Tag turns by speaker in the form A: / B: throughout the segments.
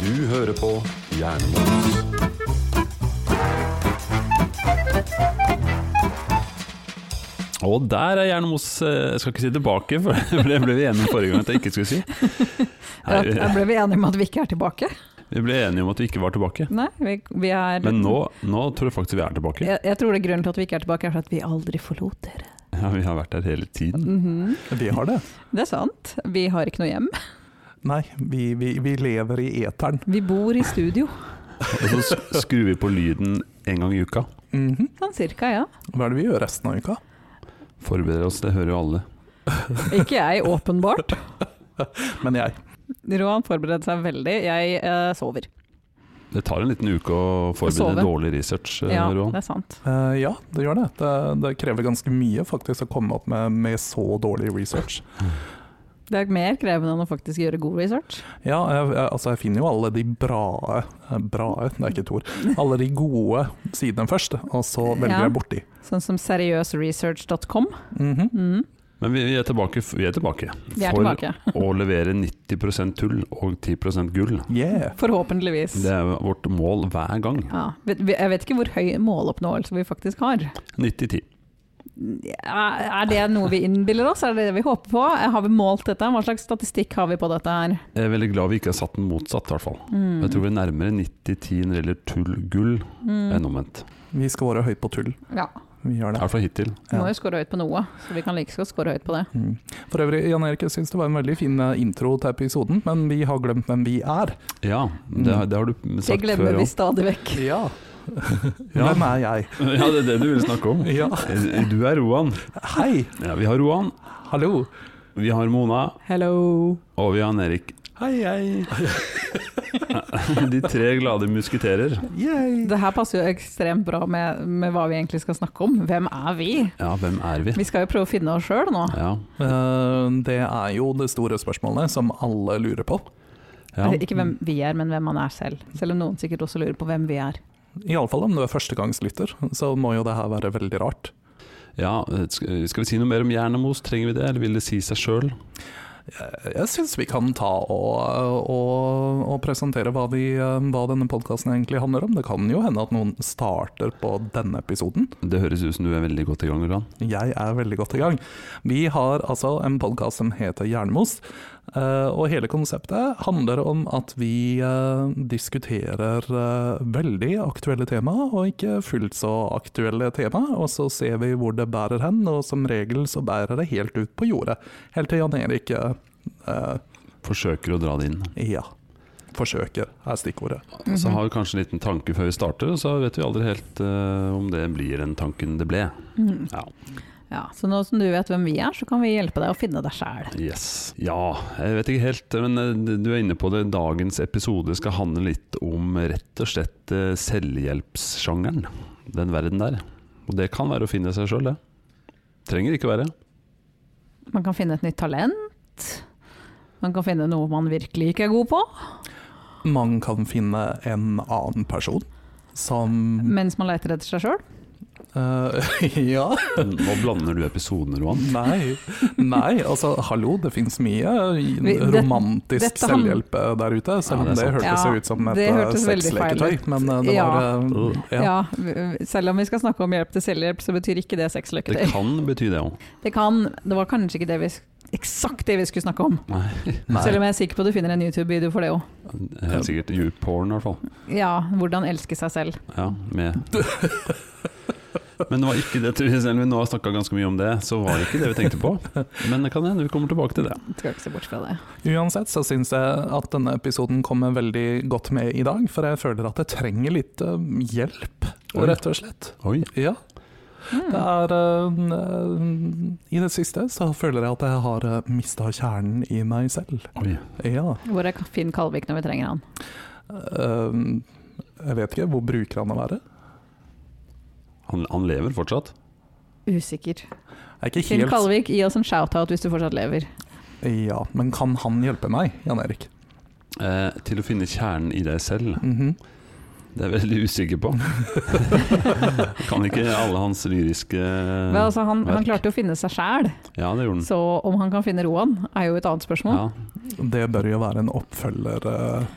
A: Du hører på Jernbanen.
B: Og der er Jernmos Jeg skal ikke si tilbake, for det ble vi enige om forrige gang at jeg ikke skulle si.
C: Da
B: Nei,
C: da ble vi enige om at vi ikke er tilbake.
B: vi ble enige om at vi ikke var tilbake.
C: Nei, vi, vi er
B: Men nå, nå tror jeg faktisk vi er tilbake.
C: jeg, jeg tror det er grunnen til at vi ikke er tilbake, er for at vi aldri forlot dere.
B: Ja, vi har vært her hele tiden.
C: Mhm.
D: Vi har det.
C: Det er sant. Vi har ikke noe hjem.
D: Nei, vi, vi, vi lever i eteren.
C: Vi bor i studio,
B: Og så s- skrur vi på lyden en gang i uka.
D: Mhm.
C: sånn cirka, ja.
D: Hva er det vi gjør resten av uka?
B: Forbereder oss, det hører jo alle.
C: Ikke jeg, åpenbart.
D: Men jeg.
C: Roan forbereder seg veldig. Jeg eh, sover.
B: Det tar en liten uke å
C: Sove.
B: forberede dårlig research, eh,
C: Ja,
B: Roan.
C: det er sant.
D: Eh, ja, det gjør det. det. Det krever ganske mye faktisk å komme opp med, med så dårlig research.
C: Det er mer krevende enn å faktisk gjøre god research.
D: Ja, jeg, jeg, altså jeg finner jo alle de bra eh, Bra, det er ikke et ord. Alle de gode sidene først, og så velger
C: Ja.
D: jeg borti.
C: Sånn som seriøsresearch.com.
D: Mhm.
C: Mm,
B: Men vi, vi er tilbake. f- Vi er tilbake.
C: vi er
B: for
C: tilbake.
B: å levere 90 tull og 10 gull.
D: Yeah.
C: Forhåpentligvis.
B: Det er vårt mål hver gang.
C: Ja. Vet- vi- Jeg vet ikke hvor høy måloppnåelse vi faktisk har.
B: 90-10.
C: Er er det noe vi innbiller oss? Er det det vi håper på? Har vi målt dette? Hva slags statistikk har vi på dette her? Mm,
B: Jeg er veldig glad vi ikke har satt den motsatt, i hvert fall. Jeg tror vi er nærmere 90-10 når det gjelder tull-gull
C: Mm.
B: enn omvendt.
D: Vi scorer høyt på tull.
C: Ja.
D: Vi gjør
B: I
D: det.
B: hvert fall hittil.
C: Vi må jo score høyt på noe, så vi kan like godt score høyt på det.
D: Mm. For øvrig, Jan Erik, jeg syns det var en veldig fin eh, intro til episoden, men vi har glemt hvem vi er.
B: Ja, det, har- det har du
C: Mm. Det
B: sagt
C: glemmer
B: før
C: vi
B: òg.
C: stadig vekk.
D: Ja.
B: Ja.
D: Hvem er jeg?
B: Ja, det er det du ville snakke om. Eh,
D: Ja.
B: Du er Roan.
D: Hei!
B: Ja, vi har Roan,
D: Hallo!
B: vi har Mona,
C: Hello.
B: og vi har Jan Erik.
D: Hei, hei!
B: De tre glade musketerer.
D: Yay!
C: Det her passer jo ekstremt bra med, med hva vi egentlig skal snakke om. Hvem er vi?
B: Ja, hvem er vi?
C: Vi skal jo prøve å finne oss sjøl nå.
B: Ja,
D: Eh, det er jo det store spørsmålet som alle lurer på.
B: ja.
C: Eller Ikke hvem vi er, men hvem man er selv. Selv om noen sikkert også lurer på hvem vi er.
D: Iallfall om du er førstegangslytter, så må jo det her være veldig rart.
B: ja sk- skal vi si noe mer om Jernemos? Trenger vi det, eller vil det si seg sjøl?
D: Eh, Jeg syns vi kan ta og, og, og presentere hva, vi, eh, hva denne podkasten egentlig handler om. Det kan jo hende at noen starter på denne episoden.
B: Det høres ut som du er veldig godt i gang, Roan.
D: Jeg er veldig godt i gang. Vi har altså en podkast som heter Jernmos, eh, og hele konseptet handler om at vi eh, diskuterer eh, veldig aktuelle tema, og ikke fullt så aktuelle tema, og så ser vi hvor det bærer hen, og som regel så bærer det helt ut på jordet. Helt til Jan Erik eh, eh,
B: Forsøker å dra det inn.
D: ja, forsøker, er stikkordet.
C: Mhm.
B: Så har vi kanskje en liten tanke før vi starter, og så vet vi aldri helt eh, om det blir den tanken det ble.
C: Mhm.
B: Ja.
C: Ja, så nå som du vet hvem vi er, så kan vi hjelpe deg å finne deg sjæl.
B: Yes. Ja, jeg vet ikke helt, men eh, du er inne på det. Dagens episode skal handle litt om rett og slett eh, selvhjelpssjangeren. Den verden der. Og det kan være å finne seg sjøl, det. Trenger ikke være.
C: Man kan finne et nytt talent. Man kan finne noe man virkelig ikke er god på,
D: Man kan finne en annen person som
C: mens man leter etter seg sjøl.
D: eh, Ja.
B: Nå blander du episoder, Roan.
D: Nei, nei, altså hallo, det finnes mye
C: Vi- det-
D: romantisk
C: dette han-
D: selvhjelp eh, der ute, selv om
B: Ja,
D: det,
B: det er sant.
D: hørtes
C: Ja,
D: ut som et
C: det
D: eh,
C: hørtes veldig feil
D: sexleketøy,
C: ut.
D: men eh, det
C: Ja.
D: var
B: Uh.
D: eh,
C: Ja. vi- vi- selv om vi skal snakke om hjelp til selvhjelp, så betyr ikke det
B: Det
C: sexløketøy.
B: kan bety det òg.
C: Det kan, det var kanskje ikke det vi, eksakt det vi skulle snakke om. Selv om jeg er sikker på at du finner en YouTube-video for det òg.
B: Helt sikkert YouPorn, i hvert fall.
C: Ja, hvordan elske seg selv.
B: Ja, med Men det var ikke det, selv om vi nå har snakka ganske mye om det, så var det ikke det vi tenkte på. Men det kan hende vi kommer tilbake til det.
C: Skal ikke se bort fra det.
D: Uansett så syns jeg at denne episoden kommer veldig godt med i dag, for jeg føler at jeg trenger litt eh, hjelp,
B: Oi.
D: rett og slett.
B: Oi.
D: Ja, det
C: Mm.
D: er eh, eh, I det siste så føler jeg at jeg har uh, mista kjernen i meg selv.
B: Oi.
D: Ja.
C: Hvor er Finn Kalvik når vi trenger han?
D: Eh, jeg vet ikke, hvor bruker han å være?
B: Han, han lever fortsatt.
C: Usikker.
D: Jeg er ikke
C: Finn
D: helt
C: Kalvik, gi oss en shout-out hvis du fortsatt lever.
D: Ja, men kan han hjelpe meg, Jan Erik?
B: Eh, til å finne kjernen i deg selv.
D: Mhm.
B: Det er jeg veldig usikker på. kan ikke alle hans lyriske
C: Men altså, han, han klarte jo å finne seg sjæl,
B: Ja, det gjorde han.
C: så om han kan finne Roan, er jo et annet spørsmål.
B: Ja,
D: Det bør jo være en oppfølger. eh,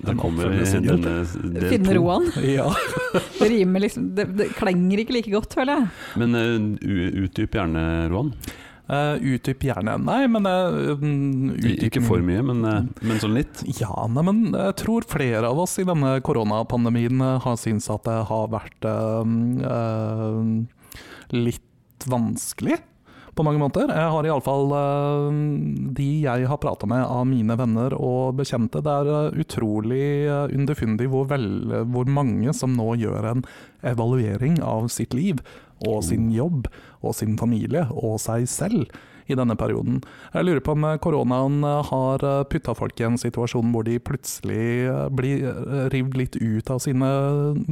B: det
D: en
B: kommer i
D: oppfølgersingel.
B: denne del
C: Finne
B: to.
C: Roan.
D: Ja.
C: Det rimer liksom Det, det klenger ikke like godt, føler jeg.
B: Men eh, u- utdyp gjerne, Roan.
D: Eh, utdyp gjerne Nei, men eh, mm, utdyp Mm.
B: Ikke for mye, men, eh, men sånn litt.
D: Ja, nei, men jeg tror flere av oss i denne koronapandemien eh, har syntes at det har vært eh, eh, litt vanskelig på mange måter. Jeg har iallfall uh, de jeg har prata med av mine venner og bekjente. Det er eh, utrolig eh, underfundig hvor, vel, hvor mange som nå gjør en evaluering av sitt liv og sin jobb og sin familie og seg selv i denne perioden. Jeg lurer på om eh, koronaen eh, har eh, putta folk i en situasjon hvor de plutselig eh, blir eh, rivd litt ut av sine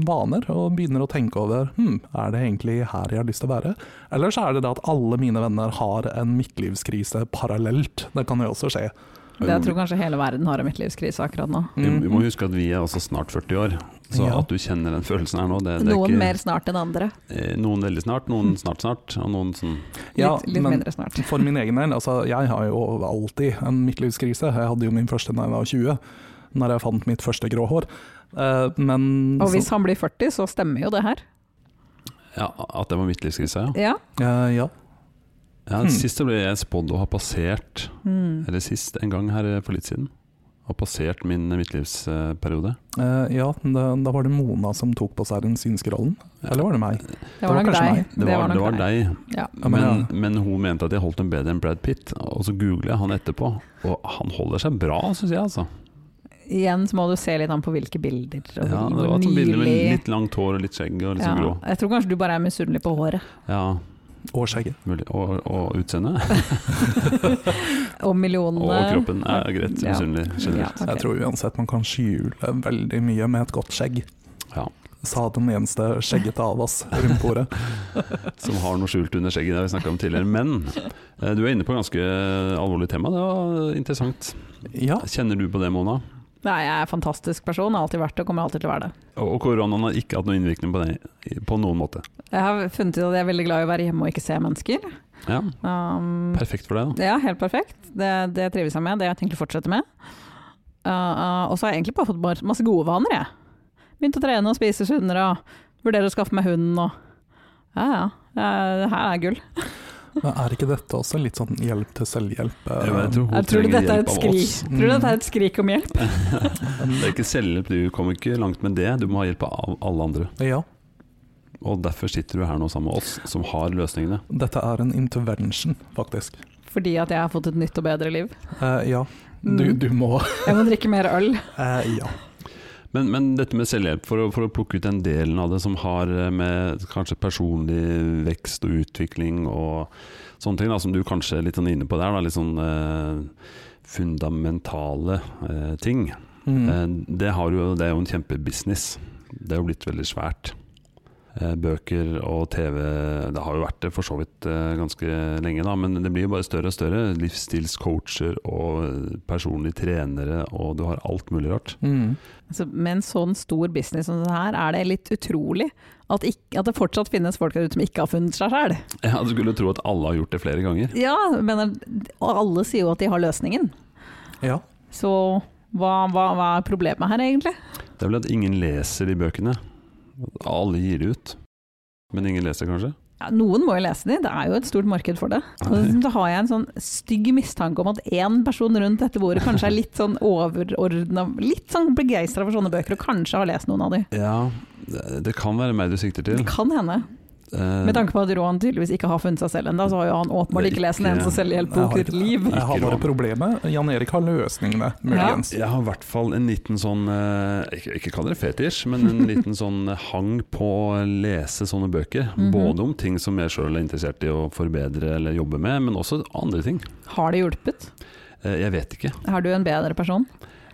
D: vaner og begynner å tenke over hm, er det egentlig her jeg har lyst til å være? Eller så er det det at alle mine venner har en midtlivskrise parallelt. Det kan jo også skje.
C: Det
B: Mm.
C: jeg tror kanskje hele verden har en midtlivskrise akkurat nå.
B: Vi, vi må huske at vi er også snart 40 år, så
D: Mm. Ja.
B: at du kjenner den følelsen her nå det, det er
C: Noen
B: ikke,
C: mer snart enn andre.
B: eh, Noen veldig snart, noen snart snart, og noen sånn
C: Litt, litt mindre snart.
D: For min egen del, altså jeg har jo alltid en midtlivskrise. Jeg hadde jo min første da jeg var 20, når jeg fant mitt første grå hår. Eh, Men
C: Og hvis han blir 40, så stemmer jo det her.
B: Ja, at det var midtlivskrise, ja.
C: Ja.
D: Eh, ja.
B: ja
D: Hmm.
B: Sist så ble jeg spådd å ha passert,
C: Mm.
B: eller sist en gang her eh, for litt siden, har passert min eh, midtlivsperiode.
D: Eh, ja, da, da var det Mona som tok på seg den synske rollen. Eller var det meg?
C: Det var nok
D: kanskje
C: deg.
D: meg.
B: Det var, det var deg.
C: Ja.
D: Ja, men
B: Men, men hun mente at jeg holdt den bedre enn Brad Pitt, og så googler jeg han etterpå. Og han holder seg bra, syns jeg, altså.
C: Igjen så må du se litt an på hvilke bilder. Og
B: Ja, det
C: hvor
B: var et sånt bilde med
C: nylig-
B: litt langt hår og litt skjegg og litt
C: ja.
B: sånn grå.
C: Jeg tror kanskje du bare er misunnelig på håret
B: Ja,
D: Og skjegget.
B: mulig. Og, og utseendet.
C: og millionene.
B: Og kroppen er greit
C: eh, Ja.
B: misunnelig
C: Ja,
B: generelt.
C: ok.
D: Jeg tror uansett man kan skjule veldig mye med et godt skjegg.
B: Ja.
D: Sa den eneste skjeggete av oss rundt bordet.
B: Som har noe skjult under skjegget, det har vi snakka om tidligere. Men eh, du er inne på et ganske alvorlig tema, det var interessant.
D: Ja,
B: Kjenner du på det, Mona?
C: Nei, jeg er en fantastisk person, har alltid vært det og kommer alltid til å være det.
B: Og og koronaen har ikke hatt noen innvirkning på det på noen måte.
C: Jeg har funnet ut at jeg er veldig glad i å være hjemme og ikke se mennesker.
B: Ja,
C: Um,
B: Perfekt for deg, da.
C: ja, helt perfekt. Det, det trives jeg med, det har jeg tenkt å fortsette med. Uh, uh, og så har jeg egentlig bare fått bare masse gode vaner, jeg. Begynt å trene og spise sunnere og vurdere å skaffe meg hund og Ja ja, Eh, det her er gull.
D: men Er ikke dette også litt sånn hjelp til selvhjelp? eh,
B: Jeg tror hun
C: Jeg tror,
B: trenger
C: dette er
B: hjelp
C: et
B: av
C: skrik.
B: oss. Mm.
C: tror du dette er et skrik om hjelp?
B: Det er ikke selvhjelp, du kommer ikke langt med det. Du må ha hjelp av alle andre.
D: Ja,
B: Og derfor sitter du her nå sammen med oss, som har løsningene.
D: dette er en intervention, faktisk.
C: Fordi at jeg har fått et nytt og bedre liv.
D: Eh, ja, du,
C: Mm.
D: du må
C: Jeg må drikke mer øl.
D: eh, Ja.
B: Men, men dette med selvhjelp, for å, for å plukke ut den delen av det som har eh, med kanskje personlig vekst og utvikling og sånne ting, da, som du kanskje er litt sånn inne på der, da, litt sånn eh, fundamentale eh, ting,
D: Mm.
B: eh, det, har jo, det er jo en kjempebusiness. Det er jo blitt veldig svært. Eh, Bøker og TV, det har jo vært det for så vidt eh, ganske lenge, da, men det blir jo bare større og større. Livsstilscoacher og eh, personlige trenere, og du har alt mulig rart.
D: Mm.
C: Altså, med en sånn stor business som denne her, er det litt utrolig at, ikk- at det fortsatt finnes folk der ute som ikke har funnet seg sjøl.
B: Ja, Du skulle tro at alle har gjort det flere ganger.
C: Ja, men, eh, og alle sier jo at de har løsningen.
D: Ja.
C: Så hva, hva, hva er problemet her, egentlig?
B: Det er vel at ingen leser de bøkene. Alle gir det ut. Men ingen leser, kanskje?
C: Ja, noen må jo lese de, det er jo et stort marked for det. Og Da har jeg en sånn stygg mistanke om at én person rundt dette bordet kanskje er litt sånn overordna, litt sånn begeistra for sånne bøker, og kanskje har lest noen av de.
B: Ja, det, det kan være meg du sikter til.
C: Det kan hende.
B: Eh,
C: Med tanke på at Rohan tydeligvis ikke har funnet seg selv ennå, så har jo han åpenbart
B: Det er
C: ikke lest en eneste
B: ikke-
D: Jeg
C: selvhjelpbok
D: har
C: i sitt
D: ikke-
C: liv.
D: Jeg har
B: Ikke
D: bare
B: råd.
D: problemet. Jan Erik har løsningene, muligens.
B: jeg har i hvert fall en liten sånn eh, Ikke, ikke kall det fetisj, men en liten sånn hang på å lese sånne bøker.
C: Mhm.
B: Både om ting som jeg sjøl er interessert i å forbedre eller jobbe med, men også andre ting.
C: Har det hjulpet?
B: Eh, jeg vet ikke.
C: Er du en bedre person?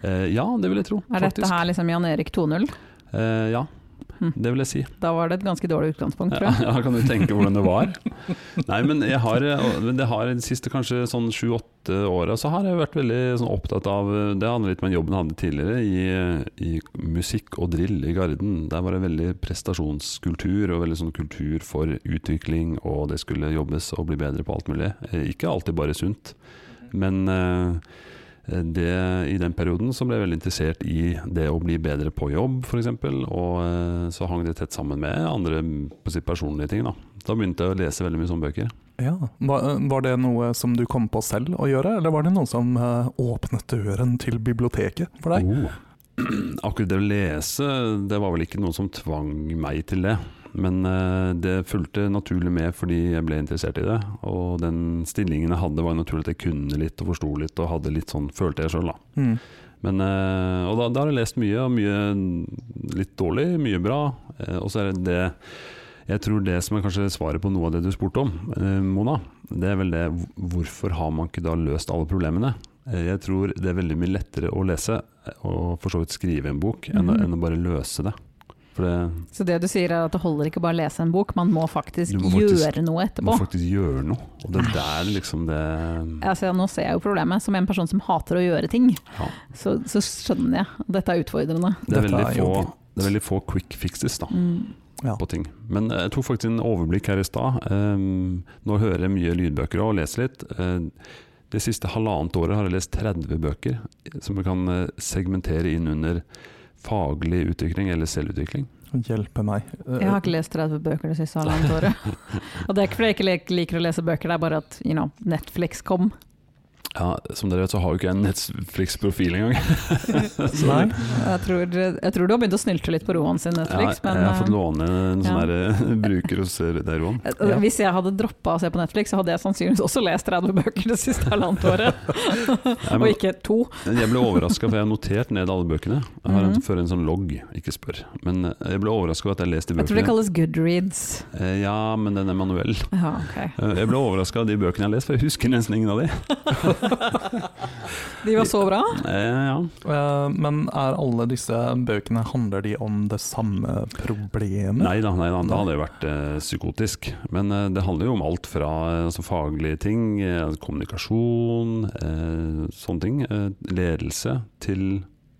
B: Eh, ja, det vil jeg tro,
C: Er
B: faktisk.
C: dette her liksom Jan Erik 2.0?
B: Eh, ja. Det vil jeg si.
C: Da var det et ganske dårlig utgangspunkt, tror
B: Ja,
C: jeg.
B: ja, kan du tenke hvordan det var? Nei, men jeg har, men det har de siste kanskje sånn sju-åtte åra så har jeg vært veldig sånn opptatt av Det handler litt om jobben jeg hadde tidligere, i, i musikk og drill i Garden. Der var det veldig prestasjonskultur, og veldig sånn kultur for utvikling, og det skulle jobbes og bli bedre på alt mulig. Eh, Ikke alltid bare sunt, men eh, det, I den perioden så ble jeg veldig interessert i det å bli bedre på jobb, f.eks. Og eh, så hang det tett sammen med andre mm, på sitt personlige ting. Da Da begynte jeg å lese veldig mye sånne bøker.
D: Ja. Var, var det noe som du kom på selv å gjøre, eller var det noe som eh, åpnet døren til biblioteket for deg?
B: Oh. Akkurat det å lese, det var vel ikke noen som tvang meg til det. Men eh, det fulgte naturlig med fordi jeg ble interessert i det. Og den stillingen jeg hadde, var naturlig at jeg kunne litt og forsto litt, og hadde litt sånn, følte jeg sjøl, da.
D: Mm.
B: Men, eh, og da, da har jeg lest mye, og mye litt dårlig, mye bra. Eh, Og så er det det Jeg tror det som er kanskje svaret på noe av det du spurte om, eh, Mona, det er vel det hvor- hvorfor har man ikke da løst alle problemene? Eh, Jeg tror det er veldig mye lettere å lese eh, og for så vidt skrive en bok enn, å-
C: Mhm.
B: enn å bare løse det. For det
C: Så det du sier er at det holder ikke bare å lese en bok, man må faktisk,
B: Du må faktisk-
C: gjøre noe etterpå.
B: må faktisk gjøre noe, og det er der liksom det
C: Altså, nå ser jeg jo problemet. Som en person som hater å gjøre ting,
B: Ja.
C: så, så skjønner jeg at dette er utfordrende.
B: Det er
D: Dette
B: veldig
D: er jo
B: få,
D: fint.
B: det er veldig få quick fixes, da.
C: Mm.
B: på ting. Men eh, jeg tok faktisk en overblikk her i stad. Ehm, nå hører jeg mye lydbøker og leser litt. Ehm, det siste halvannet året har jeg lest 30 bøker som jeg kan eh, segmentere inn under faglig utvikling eller selvutvikling.
D: Hjelpe meg. Eh,
C: Jeg har ikke lest 30 bøker det siste halvannet året. Og det er ikke fordi jeg ikke lik- liker å lese bøker, det er bare at you know, Netflix kom.
B: Ja, som dere vet så har jo ikke jeg en Netflix-profil engang.
D: Nei,
C: Jeg tror, jeg tror du har begynt å snylte litt på Roan sin Netflix,
B: Ja,
C: men
B: jeg har fått
C: eh,
B: låne en sånn
C: ja.
B: her, eh, bruker hos deg, Roan.
C: eh,
D: Ja.
C: Hvis jeg hadde droppa å se på Netflix, så hadde jeg sannsynligvis også lest 30 bøker det siste halvannet året,
B: Nei,
C: og
B: men-
C: ikke to.
B: Men Jeg ble overraska, for jeg har notert ned alle bøkene. Jeg har en,
C: Mhm.
B: fører en sånn logg, ikke spør. Men eh, jeg ble overraska over at jeg leste
C: Jeg tror det
B: bøkene.
C: kalles goodreads.
B: Eh, Ja, men den er manuell.
C: Ja, ok.
B: Eh, Jeg ble overraska av de bøkene jeg har lest, for jeg husker nesten ingen av de.
C: De var så bra.
B: Eh, ja.
D: eh, men er alle disse bøkene, handler de om det samme problemet?
B: Nei da, nei da, da hadde jeg vært eh, psykotisk. Men eh, det handler jo om alt fra eh, altså faglige ting, eh, kommunikasjon, eh, sånne ting, eh, ledelse, til,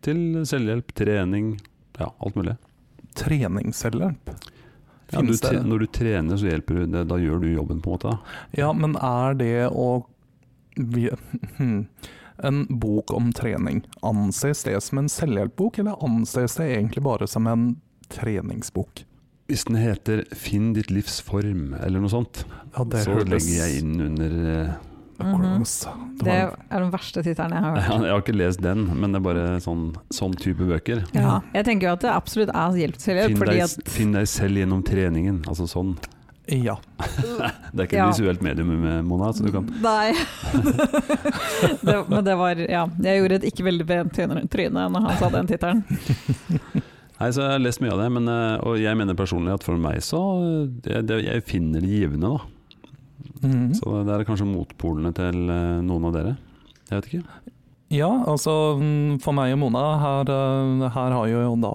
B: til selvhjelp, trening, ja, alt mulig.
D: Treningsselhjelp?
B: Ja, du,
D: Finnes det?
B: tre- når du trener, så hjelper du, det, da gjør du jobben, på en måte. Da.
D: Ja, men er det å vi- hmm. En bok om trening, anses det som en selvhjelpbok, eller anses det egentlig bare som en treningsbok?
B: Hvis den heter 'Finn ditt livs form', eller noe sånt,
D: Ja, det
B: så legger jeg inn under eh,
D: Acronyms. Det
C: Mhm. Mm-hmm. Det
D: var-
C: er den verste tittelen jeg har hørt.
B: ja, Jeg har ikke lest den, men det er bare sånn, sånn type bøker.
C: Ja. Jeg tenker jo at det absolutt er hjelp til hjelp,
B: Finn
C: fordi
B: deg,
C: at
B: finn deg selv gjennom treningen. Altså sånn.
D: Ja.
B: Det er ikke
C: Ja.
B: et visuelt medium, med Mona. Så du kan.
C: Nei. det, men det var Ja, jeg gjorde et ikke veldig pent tryne- tryne når han sa den tittelen.
B: Nei, så Jeg har lest mye av det, men, eh, og jeg mener personlig at for meg så eh, det, det, Jeg finner det givende, da.
D: Mhm.
B: Så det er kanskje motpolene til eh, noen av dere. Jeg vet ikke.
D: Ja, altså mm, for meg og Mona, her, eh, her har jo da,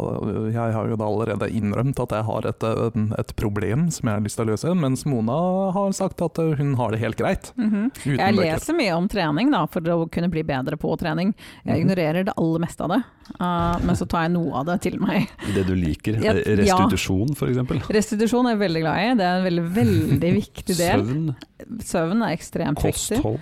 D: jeg har jo da allerede innrømt at jeg har et, eh, et problem som jeg har lyst til å løse, mens Mona har sagt at eh, hun har det helt greit.
C: Mhm.
D: Uten
C: Jeg
D: bøker.
C: leser mye om trening da, for å kunne bli bedre på trening. Jeg
D: Mhm.
C: ignorerer det aller meste av det, uh, men så tar jeg noe av det til meg.
B: Det du liker.
C: Ja,
B: eh, Restitusjon, f.eks.
C: Restitusjon er jeg veldig glad i, det er en veldig, veldig viktig del.
B: Søvn.
C: Søvn er ekstremt viktig.
B: Kosthold.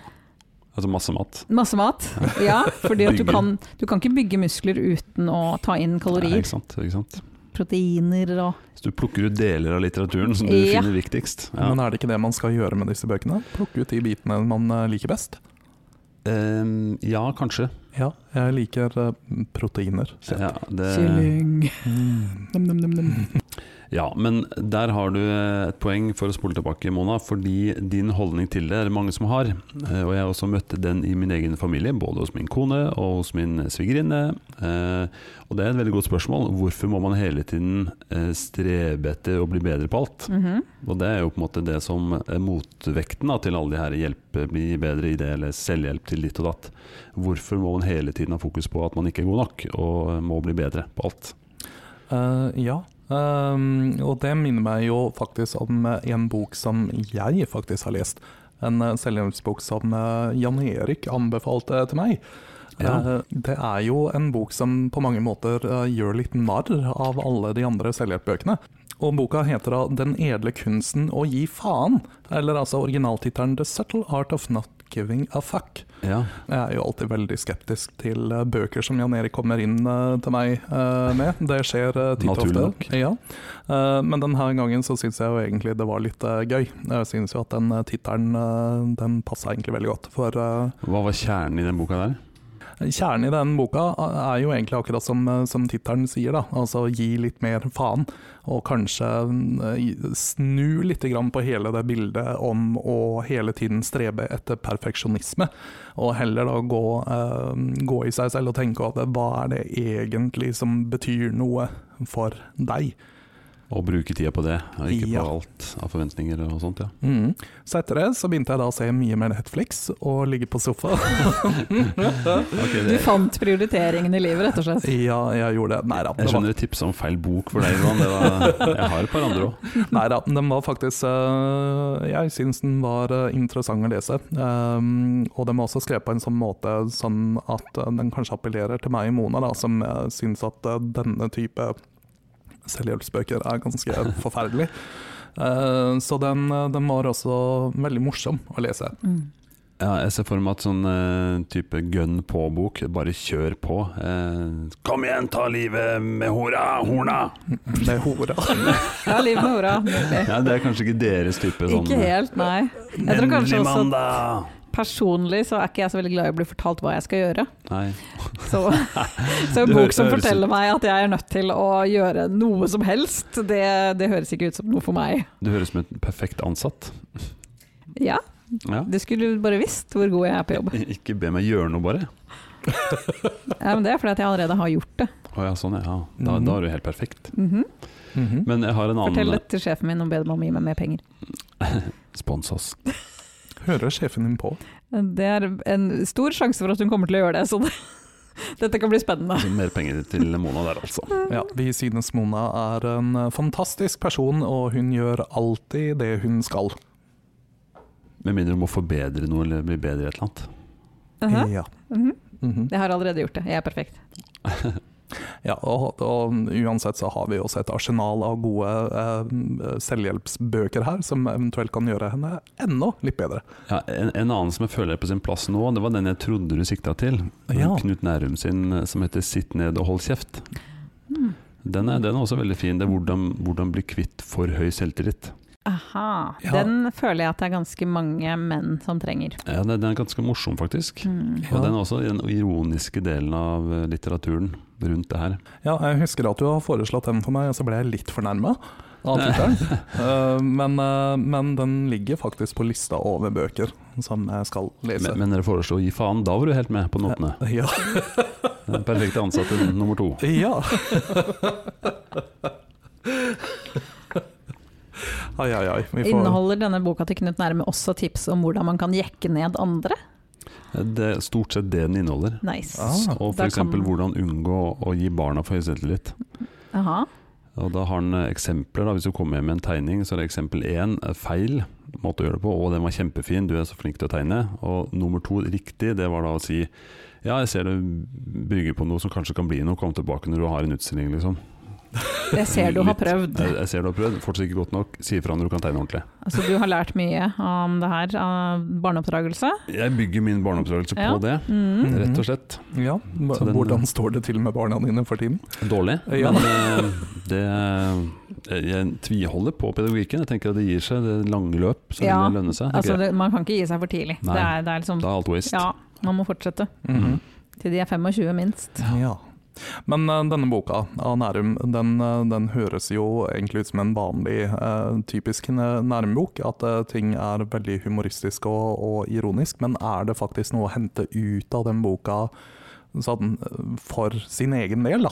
B: Altså masse mat.
C: Masse mat, ja. Fordi at du
B: Bygge.
C: kan, du kan ikke bygge muskler uten å ta inn
B: Nei,
C: kalorier,
B: ikke sant, ikke sant?
C: proteiner og
B: Så du plukker ut deler av litteraturen som du
C: Ja.
B: finner viktigst. Ja.
D: Men er det ikke det man skal gjøre med disse bøkene? Plukke ut de bitene man eh, liker best?
B: Ehm, ja, kanskje.
D: Ja, jeg liker eh, proteiner.
B: Ja, det,
C: kylling.
D: Mm.
C: Nam, nam, nam, nam.
B: Ja, men der har du eh, et poeng for å spole tilbake, Mona. Fordi din holdning til det er det mange som har. Eh, Og jeg har også møtt den i min egen familie, både hos min kone og hos min svigerinne. Eh, Og det er et veldig godt spørsmål. Hvorfor må man hele tiden eh, strebe etter å bli bedre på alt?
C: Mhm.
B: Og det er jo på en måte det som er motvekten da, til alle de her hjelpe, bli bedre i det, eller selvhjelp til ditt og datt. Hvorfor må man hele tiden ha fokus på at man ikke er god nok, og eh, må bli bedre på alt?
D: Eh, ja, Um, og det minner meg jo faktisk om eh, en bok som jeg faktisk har lest. En eh, selvhjelpsbok som eh, Jan Erik anbefalte til meg.
B: Ja.
D: Eh, Det er jo en bok som på mange måter eh, gjør litt narr av alle de andre selvhjelpbøkene. Og boka heter da 'Den edle kunsten å gi faen', eller altså originaltittelen 'The Subtle Art of Not Giving a Fuck'.
B: Ja.
D: Jeg er jo alltid veldig skeptisk til eh, bøker som Jan Erik kommer inn eh, til meg eh, med. Det skjer eh, titt og ofte.
B: Naturlig nok.
D: Ja. Eh, Men denne gangen så syns jeg jo egentlig det var litt eh, gøy. Jeg syns jo at den eh, tittelen eh, den passa egentlig veldig godt. For eh,
B: Hva var kjernen i den boka der?
D: kjernen i den boka er jo egentlig akkurat som, eh, som tittelen sier, da. Altså gi litt mer faen, og kanskje eh, i- snu litt grann på hele det bildet om å hele tiden strebe etter perfeksjonisme, og heller da gå, eh, gå i seg selv og tenke over hva er det egentlig som betyr noe for deg.
B: Å bruke tida på det, og ikke
D: Ja.
B: på alt av forventninger og sånt, ja.
D: Mm. Så etter det så begynte jeg da å se mye mer Netflix og ligge på sofaen.
B: Ok,
C: Du
B: det,
C: fant prioriteringen i livet, rett og slett.
D: ja, jeg gjorde det. Nei da.
B: jeg
D: det var-
B: skjønner du tipsa om feil bok for deg, Ivan. Det var- Jeg har et par andre òg.
D: Nei da, den var faktisk eh, Jeg syns den var eh, interessant å lese. Ehm, og den var også skrevet på en sånn måte sånn at eh, den kanskje appellerer til meg og Mona, da, som eh, syns at eh, denne type selvhjelpsbøker er ganske forferdelig. Eh, så den, eh, den var også veldig morsom å lese.
C: Mm.
B: Ja, jeg ser for meg at sånn eh, type gun på-bok, bare kjør på. Eh, Kom igjen, ta livet med hora, horna!
D: Med hora.
C: Ja, liv med hora. Nydelig.
B: Ja, det er kanskje ikke deres type sånn
C: Ikke helt, nei. Jeg tror
B: Endelig
C: kanskje også
B: mandag!
C: Personlig så er ikke jeg så veldig glad i å bli fortalt hva jeg skal gjøre.
B: Nei.
C: Så, så en
B: Det høres-
C: bok som
B: det høres ut-
C: forteller meg at jeg er nødt til å gjøre noe som helst, det, det høres ikke ut som noe for meg.
B: Du høres ut som en perfekt ansatt.
C: Ja,
B: Ja.
C: du skulle bare visst hvor god jeg er på jobb.
B: Ikke be meg gjøre noe, bare.
C: Ja, men det er fordi at jeg allerede har gjort det.
B: Å ja, sånn, ja. Da,
D: Mhm.
B: da er du helt perfekt.
C: Mhm.
D: Mhm.
B: Men jeg har en
C: Fortell
B: annen
C: det til sjefen min og be dem om å gi meg mer penger.
B: Spons oss.
D: Hører sjefen din på?
C: Det er en stor sjanse for at hun kommer til å gjøre det, så det, dette kan bli spennende.
B: Så mer penger til Mona der, altså.
D: Ja, vi synes Mona er en eh, fantastisk person, og hun gjør alltid det hun skal.
B: Med mindre du må forbedre noe eller bli bedre i et eller annet.
C: Aha.
D: Ja.
C: Mhm.
D: Mhm.
C: Jeg har allerede gjort det, jeg er perfekt.
D: Ja, og, og uansett så har vi også et arsenal av gode eh, selvhjelpsbøker her, som eventuelt kan gjøre henne enda litt bedre.
B: Ja, en, en annen som jeg føler er på sin plass nå, det var den jeg trodde du sikta til.
D: Ja.
B: Knut Nærum sin eh, som heter 'Sitt ned og hold kjeft'.
C: Mm.
B: Den er, den er også veldig fin. Det er hvordan, hvordan bli kvitt for høy selvtillit.
C: Aha.
D: Ja.
C: Den føler jeg at det er ganske mange menn som trenger.
B: Ja, den, den er ganske morsom, faktisk.
C: Mm.
D: Ja.
B: Og den er også i den ironiske delen av eh, litteraturen rundt det her.
D: Ja, jeg husker at du har foreslått den for meg, og så ble jeg litt fornærma. Av tittelen. Eh, men, eh, men den ligger faktisk på lista over bøker som jeg skal lese.
B: Men, men dere foreslo å gi faen, da var du helt med på notene.
D: ja.
B: Den perfekte ansatte nummer to.
D: ja. Ai, ai, ai. Vi får
C: Inneholder denne boka til Knut Nærme også tips om hvordan man kan jekke ned andre?
B: Det er stort sett det den inneholder.
C: Nice.
D: Ah.
B: Og
C: Da
B: f.eks.
C: kan-
B: hvordan unngå å gi barna for høy selvtillit.
C: Aha.
B: Og da har han eh, eksempler. da, Hvis du kommer hjem med en tegning, så er det eksempel én eh, feil. Måte å gjøre det på. Og den var kjempefin, du er så flink til å tegne. Og nummer to riktig, det var da å si ja, jeg ser du bygger på noe som kanskje kan bli noe. Kom tilbake når du har en utstilling, liksom.
C: Jeg ser du har
B: Litt.
C: prøvd.
B: Jeg, jeg ser du har prøvd, fortsatt ikke godt nok. Si ifra når du kan tegne ordentlig.
C: Altså, du har lært mye om det her, av barneoppdragelse.
B: Jeg bygger min barneoppdragelse
C: Ja.
B: på det,
C: Mm.
D: Mhm.
B: rett og slett.
D: Ja,
B: Så den-
D: hvordan står det til med barna dine for tiden?
B: Dårlig,
D: Ja.
B: men eh, det jeg- Jeg tviholder på pedagogikken. Jeg tenker at det gir seg. Det lange løp, så
C: Ja,
B: vil det lønne seg. tenker
C: Altså,
B: jeg.
C: det, man kan ikke gi seg for tidlig.
B: Nei.
C: Det er, det er liksom
B: Da er alt waste.
C: Ja, man må fortsette.
D: Mhm.
C: Til de er 25, minst.
D: Ja. Men eh, denne boka av Nærum, den, eh, den høres jo egentlig ut som en vanlig, eh, typisk Næ- Nærum-bok. At eh, ting er veldig humoristisk og, og ironisk. Men er det faktisk noe å hente ut av den boka sånn, eh, for sin egen del, da?